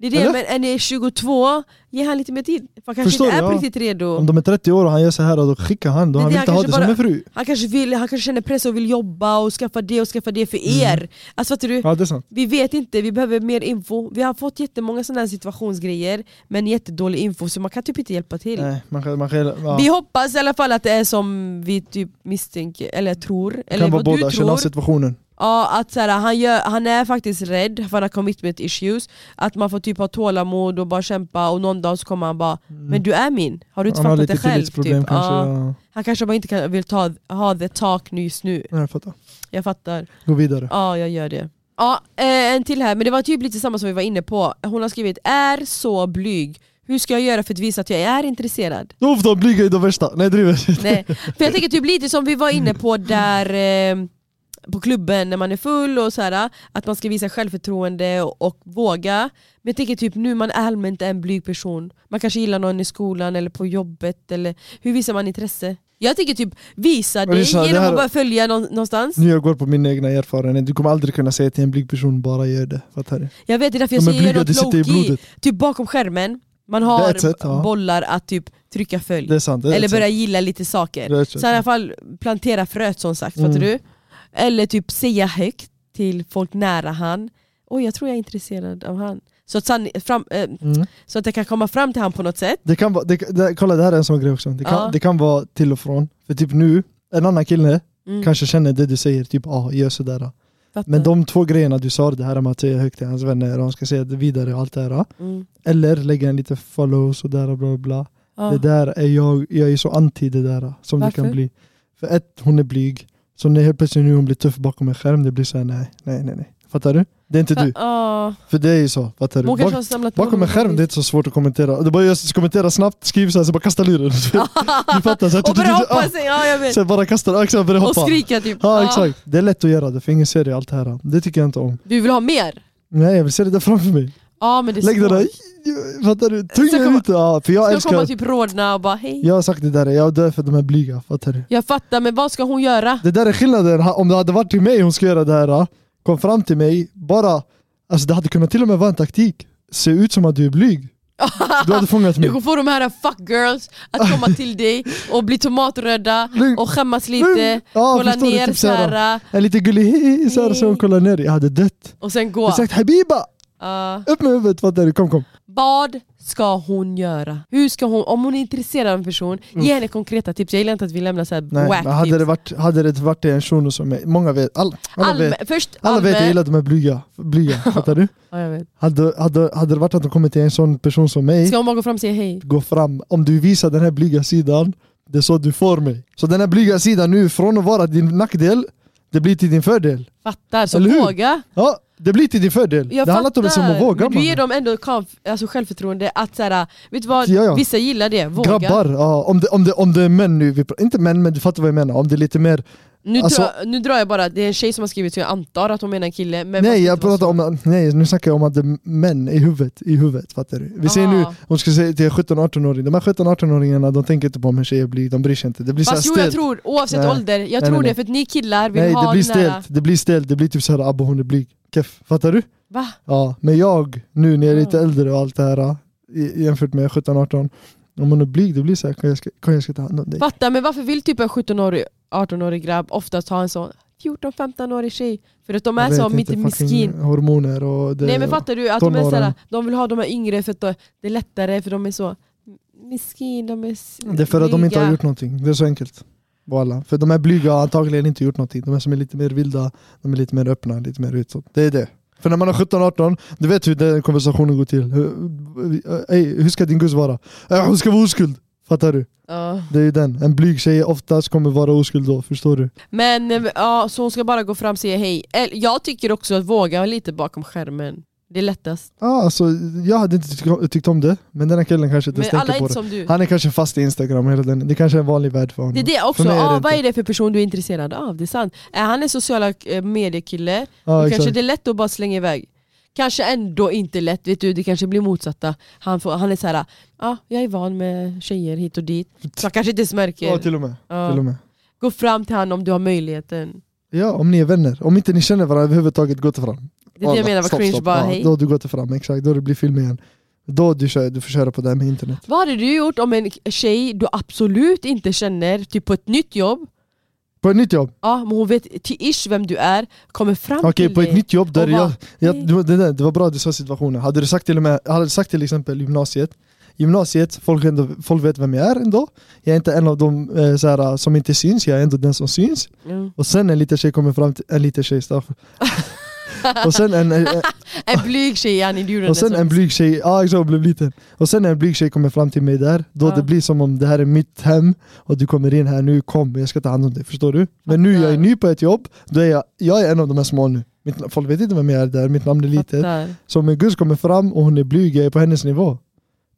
B: det är det,
C: Eller?
B: men är ni 22, ge han lite mer tid. För han kanske
C: Förstår
B: inte
C: du,
B: är på
C: ja.
B: riktigt redo.
C: Om de är 30 år och han gör så här då skickar han då,
B: Det är
C: han
B: det,
C: vill inte
B: han
C: ha det
B: kanske
C: som
B: bara-
C: en fru
B: Han kanske, vill, han kanske känner press och vill jobba och skaffa det och skaffa det för er. Alltså fattar du?
C: Mm. Ja det är sant,
B: Vi vet inte, vi behöver mer info. Vi har fått jättemånga sådana här situationsgrejer men jättedålig info så man kan typ inte hjälpa till.
C: nej man kan, man kan ja.
B: Vi hoppas i alla fall att det är som vi typ misstänker, eller tror,
C: Det
B: eller
C: kan vara
B: vad du
C: båda, känna av
B: tror.
C: situationen
B: Ja, att så här, han, gör, han är faktiskt rädd för han har commitment issues. Att man får typ ha tålamod och bara kämpa och någon dag så kommer han bara Men du är min, har du inte
C: Mm. Han har
B: fattat
C: lite
B: det själv?
C: tillitsproblem
B: typ.
C: kanske,
B: Ja.
C: ja.
B: Han kanske bara inte kan, vill ta, ha the talk just nu.
C: Nej, jag fattar
B: Jag fattar.
C: Gå vidare
B: Ja, jag gör det. Ja, eh, en till här, men det var typ lite samma som vi var inne på. Hon har skrivit är så blyg. Hur ska jag göra för att visa att jag är intresserad?
C: Uff, de blyga är de värsta, nej jag driver
B: Nej. För jag tänker typ lite som vi var inne på där eh, på klubben när man är full och så här, att man ska visa självförtroende och, och våga. Men jag tänker typ nu man är allmänt en blyg person. Man kanske gillar någon i skolan eller på jobbet eller hur visar man intresse? Jag tänker typ visa
C: Men
B: det
C: lyssna, det
B: genom
C: här-
B: att bara följa nå- någonstans.
C: Nu jag går på min egna erfarenhet, du kommer aldrig kunna säga till en blyg person bara gör det, fattar du?
B: Jag vet, det är därför jag
C: De är
B: säger
C: blyga, det
B: något
C: sitter i
B: low-key.
C: blodet,
B: Typ bakom skärmen, man
C: Det är
B: har
C: ett sätt, ja.
B: bollar att typ trycka följ.
C: det är sant det är
B: Eller
C: ett sätt.
B: börja gilla lite saker.
C: Det är ett sätt,
B: Så i
C: ja.
B: alla fall plantera fröet som sagt,
C: Mm.
B: fattar du? Eller typ säga högt till folk nära han. Oj, jag tror jag är intresserad av han. Så att, san, fram, eh,
C: mm.
B: så att jag kan komma fram till han på något sätt.
C: Det kan vara, det, det, kolla det här är en sån grej också, det kan,
B: Ja.
C: det kan vara till och från För typ nu, en annan kille
B: Mm,
C: kanske känner det du säger, typ ah, gör sådär
B: fattar.
C: Men de två grejerna du sa, det här med att säga högt till hans vänner och han ska säga det vidare och allt det här
B: mm.
C: Eller lägga en lite follows och där och bla bla
B: ja.
C: Det där är jag, jag är så anti det där som det
B: Varför?
C: kan bli. För ett, hon är blyg. Så när helt plötsligt nu hon blir tuff bakom en skärm, det blir såhär nej, nej, nej, nej. Fattar du? Det är inte du.
B: Ja.
C: För det är ju så, fattar du?
B: Hon kanske har
C: Bak,
B: samlat på
C: bakom
B: honom
C: en skärm, det är inte så svårt att kommentera. Det är bara just kommentera snabbt, skriv såhär, så bara kasta luren. du fattar? Såhär,
B: Och börja hoppa
C: ah,
B: sig, ja jag vet.
C: sen bara kasta den, axeln och börja
B: Och
C: hoppa.
B: skrika typ.
C: Ja
B: Ja.
C: exakt, det är lätt att göra det för ingen ser det allt det här. Det tycker jag inte om.
B: Du vill ha mer?
C: Nej jag vill se det där framför mig.
B: Ja men det är
C: Lägg det
B: svårt.
C: där, fattar du?
B: Ska
C: Tungan
B: komma-
C: ute. Ja, för jag
B: Ska komma
C: älskar,
B: typ rodna och bara hej.
C: jag har sagt det där, jag dör för de här blyga, fattar du?
B: Jag fattar, men vad ska hon göra?
C: Det där är skillnaden, Ha- om det hade varit till mig hon ska göra det här, kom fram till mig, bara, alltså det hade kunnat till och med vara en taktik. Se ut som att du är blyg. Du hade fångat
B: Ah, Du
C: mig.
B: kommer få de här fuck girls att komma till dig och bli tomatröda
C: Lugn.
B: och skämmas lite,
C: Ja,
B: kolla
C: förstår du?
B: ner
C: Typ så här,
B: såhär
C: En lite gullig hej, så här, så hon kollar ner, jag hade dött.
B: och sen
C: Jag
B: gå.
C: hade sagt Habiba,
B: Ja.
C: upp med huvudet, fattar du? Kom kom.
B: vad ska hon göra? Hur ska hon, om hon är intresserad av en person, ge henne konkreta tips. Jag gillar inte att vi lämnar såhär
C: Mm. Nej, men
B: wack
C: hade det
B: tips.
C: varit, hade det varit en shuno som jag, många vet, all, alla
B: Allmä,
C: vet,
B: först
C: alla vet jag
B: allmän-
C: gillar de här blyga, blyga fattar du?
B: ja, jag vet.
C: Hade, hade, hade det varit att de kommit till en sån person som mig,
B: Ska hon bara gå fram och säga hej?
C: gå fram, om du visar den här blyga sidan Det är så du får mig. Så den här blyga sidan nu, från att vara din nackdel, det blir till din fördel.
B: Fattar, så
C: Eller hur?
B: våga.
C: Ja, det blir till din fördel.
B: Jag
C: det handlar inte om det som att
B: fattar.
C: våga
B: Men Du ger
C: mannen.
B: dem ändå konf- alltså självförtroende att såhär, vet du vad?
C: Ja, ja.
B: Vissa gillar det, våga.
C: Grabbar, ja, om, det, om, det, om det är män nu, vi, pr- inte män men du fattar vad jag menar, om det är lite mer
B: Nu,
C: Alltså-
B: drar, nu drar jag bara, det är en tjej som har skrivit så jag antar att hon menar en kille. Men man ska
C: Nej jag
B: inte vara
C: pratar
B: så.
C: om, nej nu snackar jag om att det är män i huvudet, i huvudet fattar du? Vi säger nu,
B: Ah.
C: hon ska säga till 17-18-åringar, de här 17-18-åringarna de tänker inte på om hur tjejer blir, de bryr sig inte. Det blir
B: Fast
C: så
B: jo
C: här
B: jag
C: stelt.
B: tror, oavsett
C: Nej.
B: ålder, jag
C: Nej,
B: tror
C: nej,
B: det för att ni killar vill
C: Nej
B: ha
C: det blir
B: den där...
C: stelt, det blir stelt, det blir typ såhär abba hon är blyg, keff, fattar du?
B: Va?
C: Ja, men jag nu när jag är lite
B: Ja.
C: äldre och allt det här i- jämfört med 17-18, om hon är blyg det blir såhär, kan jag ska, kan jag ska ta hand om dig?
B: Fattar, men varför vill typ en 17-årig, 18-årig grabb oftast ha en sån 14-15-årig tjej? För att de
C: Jag
B: är
C: vet
B: så mitt i
C: inte, fucking
B: miskin.
C: Hormoner och det.
B: Nej men fattar du att de är
C: tonåren.
B: såhär, de vill ha de här yngre för att de- det är lättare för de är så miskin, de är s-
C: Det är för att de inte har
B: blyga.
C: gjort någonting, det är så enkelt. Voilà. För de här blyga har antagligen inte gjort någonting, de är som är lite mer vilda, de är lite mer öppna, lite mer utåt. Det är det. För när man är 17-18, du vet hur den konversationen går till. Hur, ey, hur ska din gus vara? Äh, hon ska vara oskuld! Fattar du?
B: Ja.
C: Det är ju den. En blyg tjej oftast kommer vara oskuld då, förstår du?
B: Men eh, ja, så hon ska bara gå fram och säga hej. Eller, Jag tycker också att våga lite bakom skärmen. Det är lättast.
C: Ja, alltså, jag hade inte tyckt- tyckt om det, men den här killen kanske inte
B: Men
C: ens
B: alla
C: tänker
B: är
C: på
B: inte
C: det.
B: som du.
C: Han är kanske fast i Instagram, hela den. det kanske är en vanlig värld för honom.
B: Det är det också,
C: För mig är det
B: ah,
C: inte.
B: vad är det för person du är intresserad av? Det är sant. Är han en sociala eh, mediekille,
C: ja,
B: då
C: exakt.
B: kanske det är lätt att bara slänga iväg. Kanske ändå inte lätt, vet du, det kanske blir motsatta. Han, får, han är såhär, ah, jag är van med tjejer hit och dit. Så han kanske inte ens märker.
C: typ. Ja, typ. till och med.
B: Ja.
C: Till och med.
B: Gå fram till honom om du har möjligheten.
C: Ja, om ni är vänner. Om inte ni känner varandra överhuvudtaget, gå till fram.
B: Det är det jag menar, var
C: Stopp,
B: cringe
C: stopp.
B: bara
C: Ja,
B: hej.
C: Då du går till fram, exakt. Då det blir film igen. Då du, kör, du får köra på det här med internet.
B: Vad hade du gjort om en tjej du absolut inte känner, typ på ett nytt jobb,
C: På ett nytt jobb.
B: ja, men hon vet till ish vem du är, kommer fram
C: Okej,
B: till
C: på
B: dig.
C: ett nytt jobb. Där
B: Och bara,
C: jag, jag, det, var- det, där, det var bra att du sa situationen. Hade du sagt till, och med, hade du sagt till exempel gymnasiet. Gymnasiet, folk, ändå, folk vet vem jag är ändå. Jag är inte en av de eh, så här, som inte syns, jag är ändå den som syns.
B: Mm.
C: Och sen en liten tjej kommer fram till... En liten tjej, staff. och sen en, en,
B: En blyg tjej, ja, ni gjorde
C: och
B: det
C: sen
B: som-
C: en blyg tjej, ja ah, exakt, blev liten. Och sen en blyg tjej kommer fram till mig där, då
B: Ja.
C: det blir som om det här är mitt hem och du kommer in här nu, kom jag ska ta hand om dig, förstår du? Men nu jag är ny på ett jobb, då är jag, jag är en av de här små nu. Mitt, na- folk vet inte vem jag är där, mitt namn är litet.
B: Fattar.
C: Så om en gus kommer fram och hon är blyg, jag är på hennes nivå.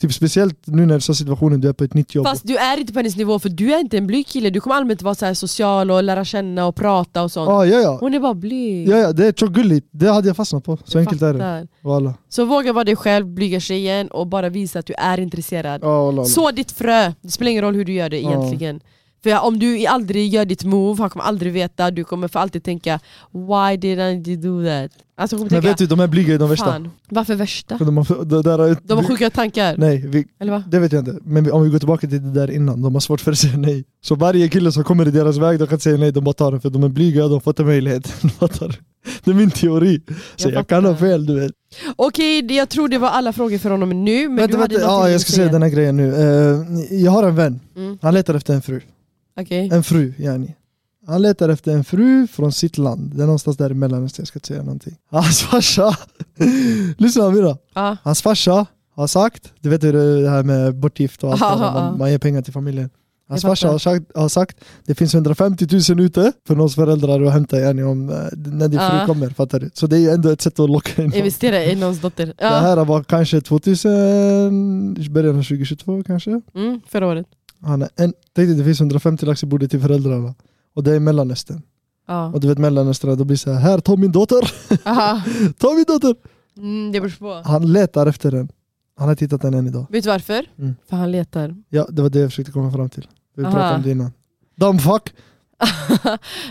C: Typ speciellt nu när du sa situationen, du är på ett nytt jobb.
B: Fast du är inte på hennes nivå för du är inte en blyg kille, du kommer allmänt vara så här social och lära känna och prata och sånt.
C: ah, ja, ja.
B: Hon är bara blyg.
C: ja ja, det är så gulligt, det hade jag fastnat på. Så
B: Jag
C: enkelt är det.
B: fattar.
C: Voilà.
B: Så våga vara dig själv, blyga tjejen och bara visa att du är intresserad.
C: Ja, voilà, voilà.
B: Så ditt frö, det spelar ingen roll hur du gör det
C: Ja.
B: egentligen. För om du aldrig gör ditt move, han kommer aldrig veta, du kommer för alltid tänka Why didn't you do that? Alltså hon
C: Men
B: kommer
C: vet
B: tänka,
C: du, de här blyga är de värsta.
B: fan, varför värsta?
C: För de har, de där har,
B: De har sjuka tankar,
C: Nej, vi,
B: eller va?
C: Det vet jag inte, men vi- om vi går tillbaka till det där innan, de har svårt för att säga nej. Så varje kille som kommer i deras väg, de kan inte säga nej, de bara tar den för de är blyga, de får inte möjligheten. Fattar du? Det är min teori. Så
B: Jag
C: jag, kan ha
B: fattar.
C: fel du vet.
B: Okej, det- jag tror det var alla frågor för honom nu, men
C: vänta,
B: du hade
C: vänta,
B: någonting
C: ja, jag
B: att
C: ska säga den här grejen nu. Eh, jag har en vän,
B: Mm.
C: han letar efter en fru.
B: Okej,
C: En fru, yani. Han letar efter en fru från sitt land, det är någonstans där i Mellanöstern, jag ska inte säga någonting. Hans farsa, lyssna Amira.
B: ja.
C: Hans farsa har sagt, du vet hur det är det här med bortgift och allt
B: Ja,
C: det där,
B: ja,
C: man,
B: ja.
C: man ger pengar till familjen. Hans
B: Jag
C: farsa
B: fattar.
C: har sagt, har sagt, det finns 150 000 ute för någons föräldrar att hämta yani, om eh, när din fru
B: Ja.
C: kommer. Fattar du? Så det är ju ändå ett sätt att locka in dem.
B: investera i någons dotter.
C: Det
B: Ja.
C: här var kanske 2000, början av 2022 kanske.
B: Mm, förra året.
C: Han är en, tänk dig, det finns 150 lax i bordet till föräldrarna. Och det är i Mellanöstern.
B: Ja.
C: Och du vet Mellanöstern, då blir det så här, här ta min dotter,
B: Aha.
C: ta min dotter!
B: Mm, det beror på.
C: Han letar efter den. Han har tittat den än idag.
B: Vet du varför?
C: Mm.
B: För han letar.
C: Ja, det var det jag försökte komma fram till. Vi
B: Aha.
C: pratade om det innan. Dumb fuck!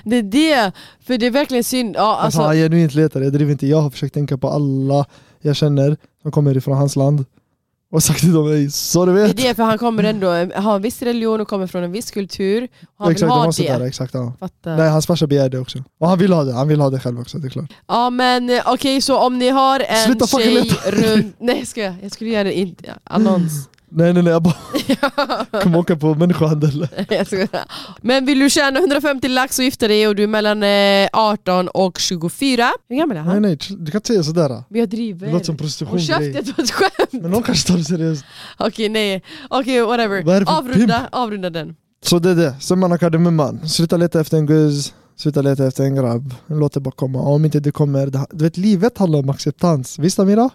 B: det är det, för det är verkligen synd. Ja,
C: Alltså,
B: alltså,
C: han är genuint letar, jag driver inte. Jag har försökt tänka på alla jag känner som kommer ifrån hans land och sagt till dem ej, så du
B: det är
C: vet.
B: det, för han kommer
C: Mm.
B: ändå ha en viss religion och kommer från en viss kultur. Han vill
C: exakt, de
B: ha
C: måste
B: det.
C: där, exakt. Ja.
B: Fattar.
C: Nej, hans farsa begär det också. Och han vill ha det, han vill ha det själv också, det är klart.
B: Ja men eh, okej, så om ni har en
C: Sluta fucking
B: tjej
C: leta.
B: runt... Nej ska jag jag skulle göra en in- annons.
C: Nej nej nej, jag bara kommer åka på människohandel.
B: Jag skojar. men vill du tjäna 150 lax och gifta dig och du är mellan eh, 18 och 24. Hur gammal är
C: Nej
B: han?
C: nej, du kan inte säga sådär.
B: Men jag
C: Mm. Det
B: driver.
C: låter som
B: Håll
C: prostitution
B: käften,
C: grej.
B: det var ett skämt!
C: Men någon kanske tar det seriöst.
B: Okej nej, okej whatever.
C: Vad är det för
B: Avrunda, avrunda den.
C: Så det är det, sömman och kardemumman. Sluta leta efter en guzz, sluta leta efter en grabb. Låt det bara komma. Om inte det kommer, det, du vet livet handlar om acceptans. Visst Amira?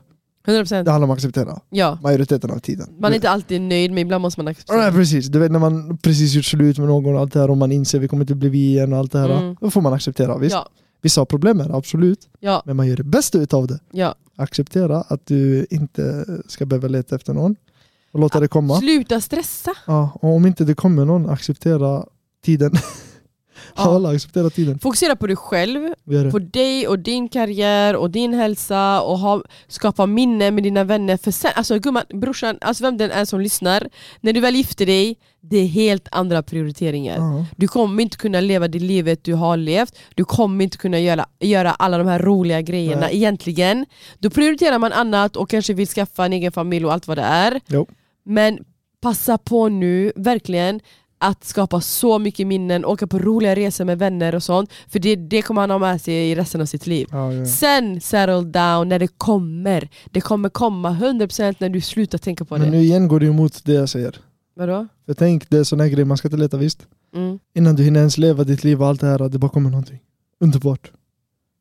B: 100%
C: Det handlar om att acceptera.
B: ja.
C: Majoriteten av tiden.
B: Man är inte alltid nöjd men ibland måste man
C: Ja,
B: acceptera.
C: nej, precis, du vet när man precis gjort slut med någon och allt det här och man inser vi kommer inte bli vi igen och allt det här.
B: Mm.
C: Då får man acceptera, visst?
B: Ja,
C: Vissa har problem med det, absolut.
B: ja,
C: Men man gör det bästa utav det.
B: ja.
C: Acceptera att du inte ska behöva leta efter någon. Och låta det komma.
B: Sluta stressa.
C: Ja, och om inte det kommer någon, acceptera tiden.
B: Ja.
C: Alla, acceptera tiden.
B: Fokusera på dig själv,
C: Vi gör det.
B: på dig och din karriär och din hälsa och ha, skapa minnen med dina vänner. För sen, alltså gumman, brorsan, alltså vem den är som lyssnar, när du väl gifter dig, det är helt andra prioriteringar.
C: Ja.
B: Du kommer inte kunna leva det livet du har levt, du kommer inte kunna göra, göra alla de här roliga grejerna
C: Nej.
B: egentligen. Då prioriterar man annat och kanske vill skaffa en egen familj och allt vad det är.
C: Jo.
B: Men passa på nu, verkligen, att skapa så mycket minnen, åka på roliga resor med vänner och sånt. För det, det kommer han ha med sig i resten av sitt liv.
C: Ja, ja.
B: Sen settle down när det kommer. Det kommer komma 100% när du slutar tänka på
C: Men
B: det.
C: nu igen går det emot det jag säger.
B: Vadå?
C: För tänk, det är sån här grej, man ska inte leta visst.
B: Mm.
C: Innan du hinner ens leva ditt liv och allt det här, det bara kommer någonting. Underbart.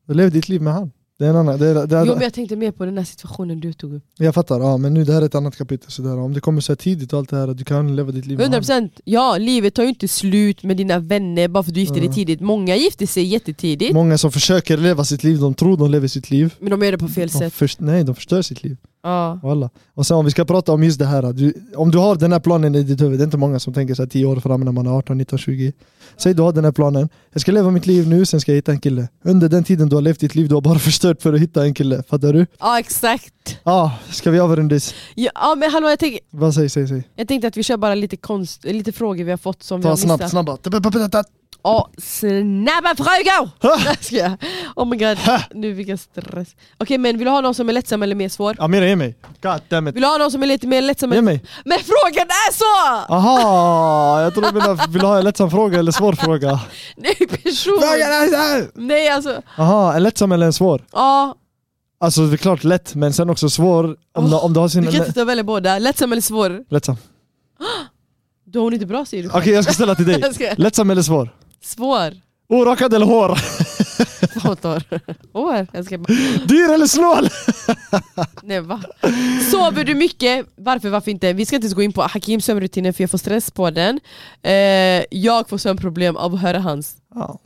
C: Då lev ditt liv med han. Det är en annan, det är, det är,
B: Jo, men jag tänkte mer på den här situationen du tog upp.
C: Jag fattar, ja, men nu det här är ett annat kapitel. Så där. Om det kommer så här tidigt och allt det här, du kan leva ditt liv med han.
B: 100% ja, livet tar ju inte slut med dina vänner bara för att du gifte dig
C: Mm.
B: tidigt. Många gifter sig jättetidigt,
C: Många som försöker leva sitt liv, de tror de lever sitt liv.
B: men de gör det på fel
C: De
B: sätt.
C: först, nej, de förstör sitt liv.
B: Ja.
C: Walla. Och sen om vi ska prata om just det här, att du, om du har den här planen i ditt huvud, det är inte många som tänker så här 10 år fram när man är 18, 19, 20. Säg du har den här planen, jag ska leva mitt liv nu, sen ska jag hitta en kille. Under den tiden du har levt ditt liv, du har bara förstört för att hitta en kille. Fattar du?
B: ja, exakt.
C: Ah, ska vi avrundas?
B: Ja, ja, men hallå, jag, tänk,
C: Vad säg, säg, säg.
B: jag tänkte att vi kör bara lite, konst, lite frågor vi har fått som vi
C: Ta
B: har
C: snabbt,
B: missat.
C: snabba. Ta-pa-pa-pa-ta.
B: Ja, snabba frågor!
C: Ha!
B: Nej, ska jag. Oh my god, nu fick jag stress. Okej, men vill du ha någon som är lättsam eller mer svår?
C: Amira, ge mig. God damn it.
B: Vill du ha någon som är lite mer lättsam?
C: Ge
B: Men,
C: mig.
B: men frågan är så!
C: Aha, jag tror du menar, vill du ha en lättsam fråga eller svår fråga?
B: Nej, person! Nej, alltså.
C: Aha, en lättsam eller en svår?
B: Ja,
C: Alltså det är klart lätt, men sen också svår om, du, om du har sin...
B: du kan inte ta och välja båda. Lättsam eller svår?
C: Lättsam.
B: Då är hon inte bra säger du.
C: Okej, jag ska ställa till dig.
B: Jag ska-
C: Lättsam eller svår?
B: Svår.
C: Orakad eller hår?
B: Motor. År. Jag ska bara,
C: Dyr eller snål?
B: nej, va? Sover du mycket? Varför, varför inte? Vi ska inte ens gå in på Hakims sömnrutiner för jag får stress på den. Eh, jag får sömnproblem av att höra hans.
C: Ja.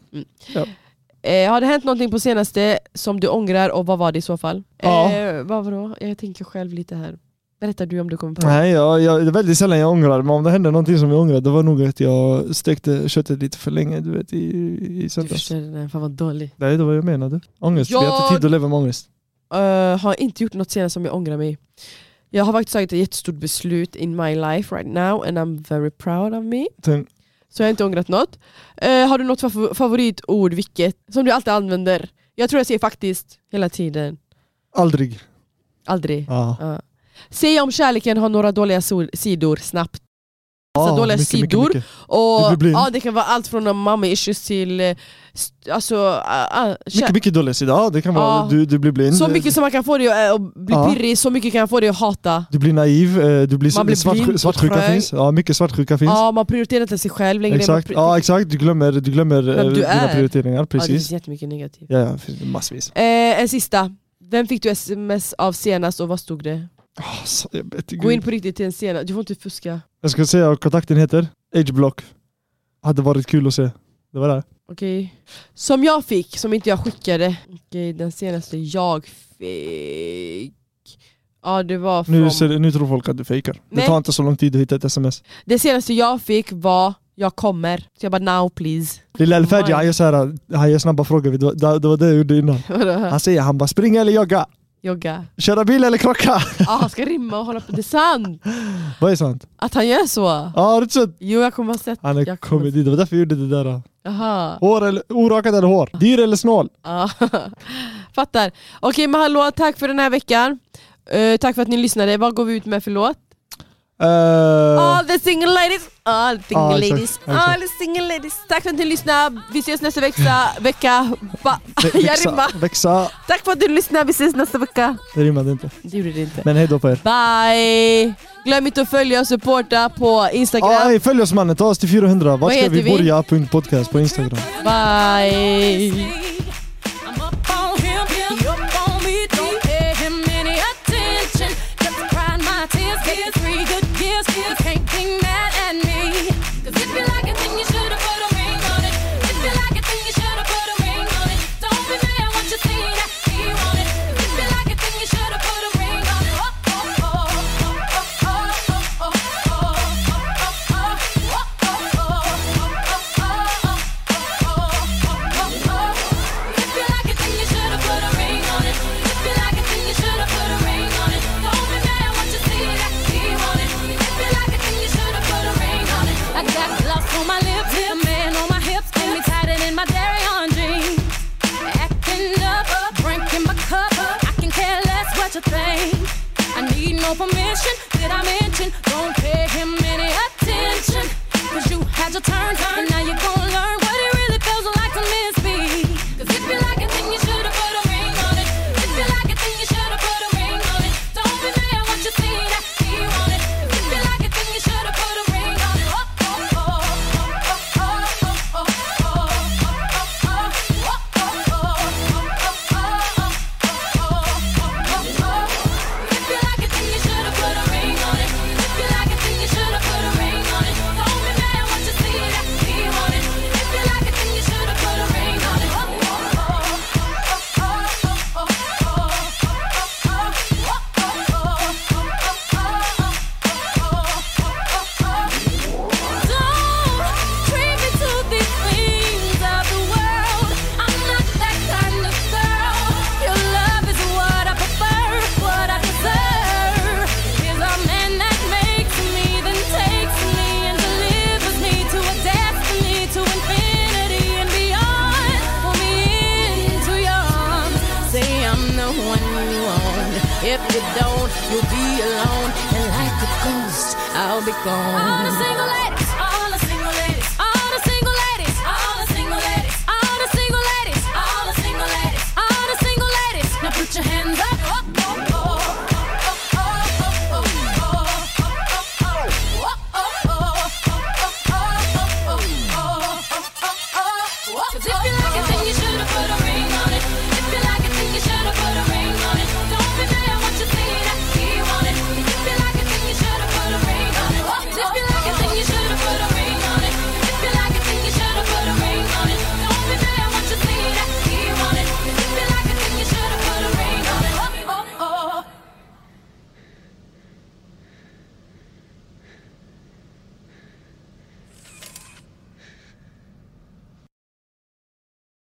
B: Eh, har det hänt någonting på senaste som du ångrar och vad var det i så fall?
C: Ja.
B: Eh, vad var det? Jag tänker själv lite här. Berätta du om du kommer på något.
C: Nej, jag, jag, det är väldigt sällan jag ångrar, men om det hände någonting som jag ångrar, det var nog att jag stekte köttet lite för länge du vet, i, i
B: Du
C: söndags.
B: förstår den här, fan vad dålig.
C: Nej, det var jag menade. Ångest. Vi har
B: Jag-
C: inte tid att leva med ångest.
B: Eh, har inte gjort något senast som jag ångrar mig. Jag har faktiskt tagit ett jättestort beslut in my life right now and I'm very proud of me.
C: Tänk,
B: Så jag har inte ångrat något. Eh, har du något fav- favoritord, vilket, som du alltid använder? Jag tror jag säger faktiskt hela tiden.
C: aldrig.
B: Aldrig.
C: Ja.
B: Ja. Säg om kärleken har några dåliga sol- sidor snabbt.
C: Ah,
B: Alltså, dåliga sidor. Och,
C: Du blir blind.
B: ja, det kan vara allt från mamma issues till... eh, St- alltså, ah, ah, kär-
C: Mycket, mycket dåliga sidor. Ja, det kan vara.
B: Ja.
C: Du, du blir blind.
B: så mycket som man kan få dig att eh, att bli
C: Ja.
B: pirrig, så mycket kan få dig att hata.
C: Du blir naiv. eh, Du blir,
B: Man blir
C: svart,
B: blind och
C: svartsjuka
B: trög.
C: finns. Ja, mycket svartsjuka finns.
B: Ja, man prioriterar inte sig själv längre.
C: exakt.
B: Man pri-
C: Ja, exakt. Du glömmer, du glömmer eh,
B: Vem du
C: dina
B: är.
C: prioriteringar.
B: Ja, det
C: Precis.
B: finns jättemycket negativt.
C: Ja, ja, det finns massvis.
B: Eh, en sista. Vem fick du sms av senast och vad stod det?
C: Ah, så- jag vet inte.
B: Gå in på riktigt till en scen, du får inte fuska.
C: Jag ska säga vad kontakten heter. Ageblock. Hade varit kul att se. Det var det.
B: Okej. Som jag fick, som inte jag skickade. Okej, den senaste jag fick... Ja, det var från...
C: Nu, ser, nu tror folk att du fejkar. Det
B: Nej.
C: tar inte så lång tid att hitta ett sms.
B: Det senaste jag fick var jag kommer. Så jag bara now please.
C: Lilla Alfadji,
B: Oj.
C: han gör så här, han gör snabba frågor. Det var, det var det jag gjorde innan. Han säger, han bara springa eller jogga?
B: Jogga.
C: Köra bil eller krocka?
B: Ja, han ska rimma och hålla på. Det är sant!
C: Vad är sant?
B: Att han gör så.
C: Ja, har du inte sett?
B: Jo, jag kommer ha sett.
C: Han är
B: jag kommer-
C: komedi. Det var därför jag gjorde det där.
B: Aha.
C: Hår eller, orakat eller hår? Dyr eller snål?
B: Ja. Fattar. Okej, men hallå, tack för den här veckan. Eh, tack för att ni lyssnade. Vad går vi ut med för låt?
C: Eh,
B: All the single ladies, all the single
C: Ja, exakt,
B: ladies,
C: exakt.
B: all the single ladies. Tack för att ni lyssnade, vi ses nästa vecka. vecka. Ba-
C: vä-
B: Jag rimmar.
C: växa, växa.
B: Tack för att du lyssnade, vi ses nästa vecka.
C: Det rimmade inte.
B: Det gjorde det inte.
C: Men hej då på er.
B: Bye! Glöm inte att följa och supporta på Instagram.
C: Ah, ey, följ oss mannen, ta oss till 400. Vart
B: Vad
C: ska
B: heter
C: vi
B: vi?
C: börja? Punkt podcast på Instagram.
B: Bye!
D: I'm up on him, he up on me, don't pay him any attention. Just cried my tears, here's three good years, you can't be mad at me. Cause if you like it, then you should've put a ring on it. If you like it, then you should've put a ring on it. Don't be mad at what you see that he wanted. If you like it, then you should've put a ring on it. Oh, oh, oh, oh, oh, oh, oh, oh, oh, oh, oh, oh, oh. If you like it, then you should've put a ring on it. If you like it, then you should've put a ring on it. Don't be mad at what you see that he wanted. If you like it, then you should've put a ring on it. I got lost on my lips, a man on my hips, and me tied it in my dairy on jeans. Acting up, drinking my cup. I can care less what you think. I need no permission. Did I mention? Don't pay him any attention. Cause you had your turn, turn. Now you're gonna learn what it really feels like to miss me. Cause if you like it, then you should've put a ring on it. If you like it, then you should've put a ring on it. Don't be mad at what you see that he wanted. If you like it, then you should've put a ring on it. Oh, oh, oh, oh, oh, oh, oh, oh. If you like it, then you should've put a ring on it. If you like it, then you should've put a ring on it. Don't be mad what you see that he wanted. If you like it, then you should've put a ring on it. Don't treat me to these things of the world. I'm not that kind of girl. Your love is what I prefer, what I deserve. Is a man that makes me, then takes me and delivers me to a destiny, to infinity and beyond. Pull me into your arms. Say I'm the one you want. If you don't, you'll be alone. And like a ghost, I'll be gone. Oh,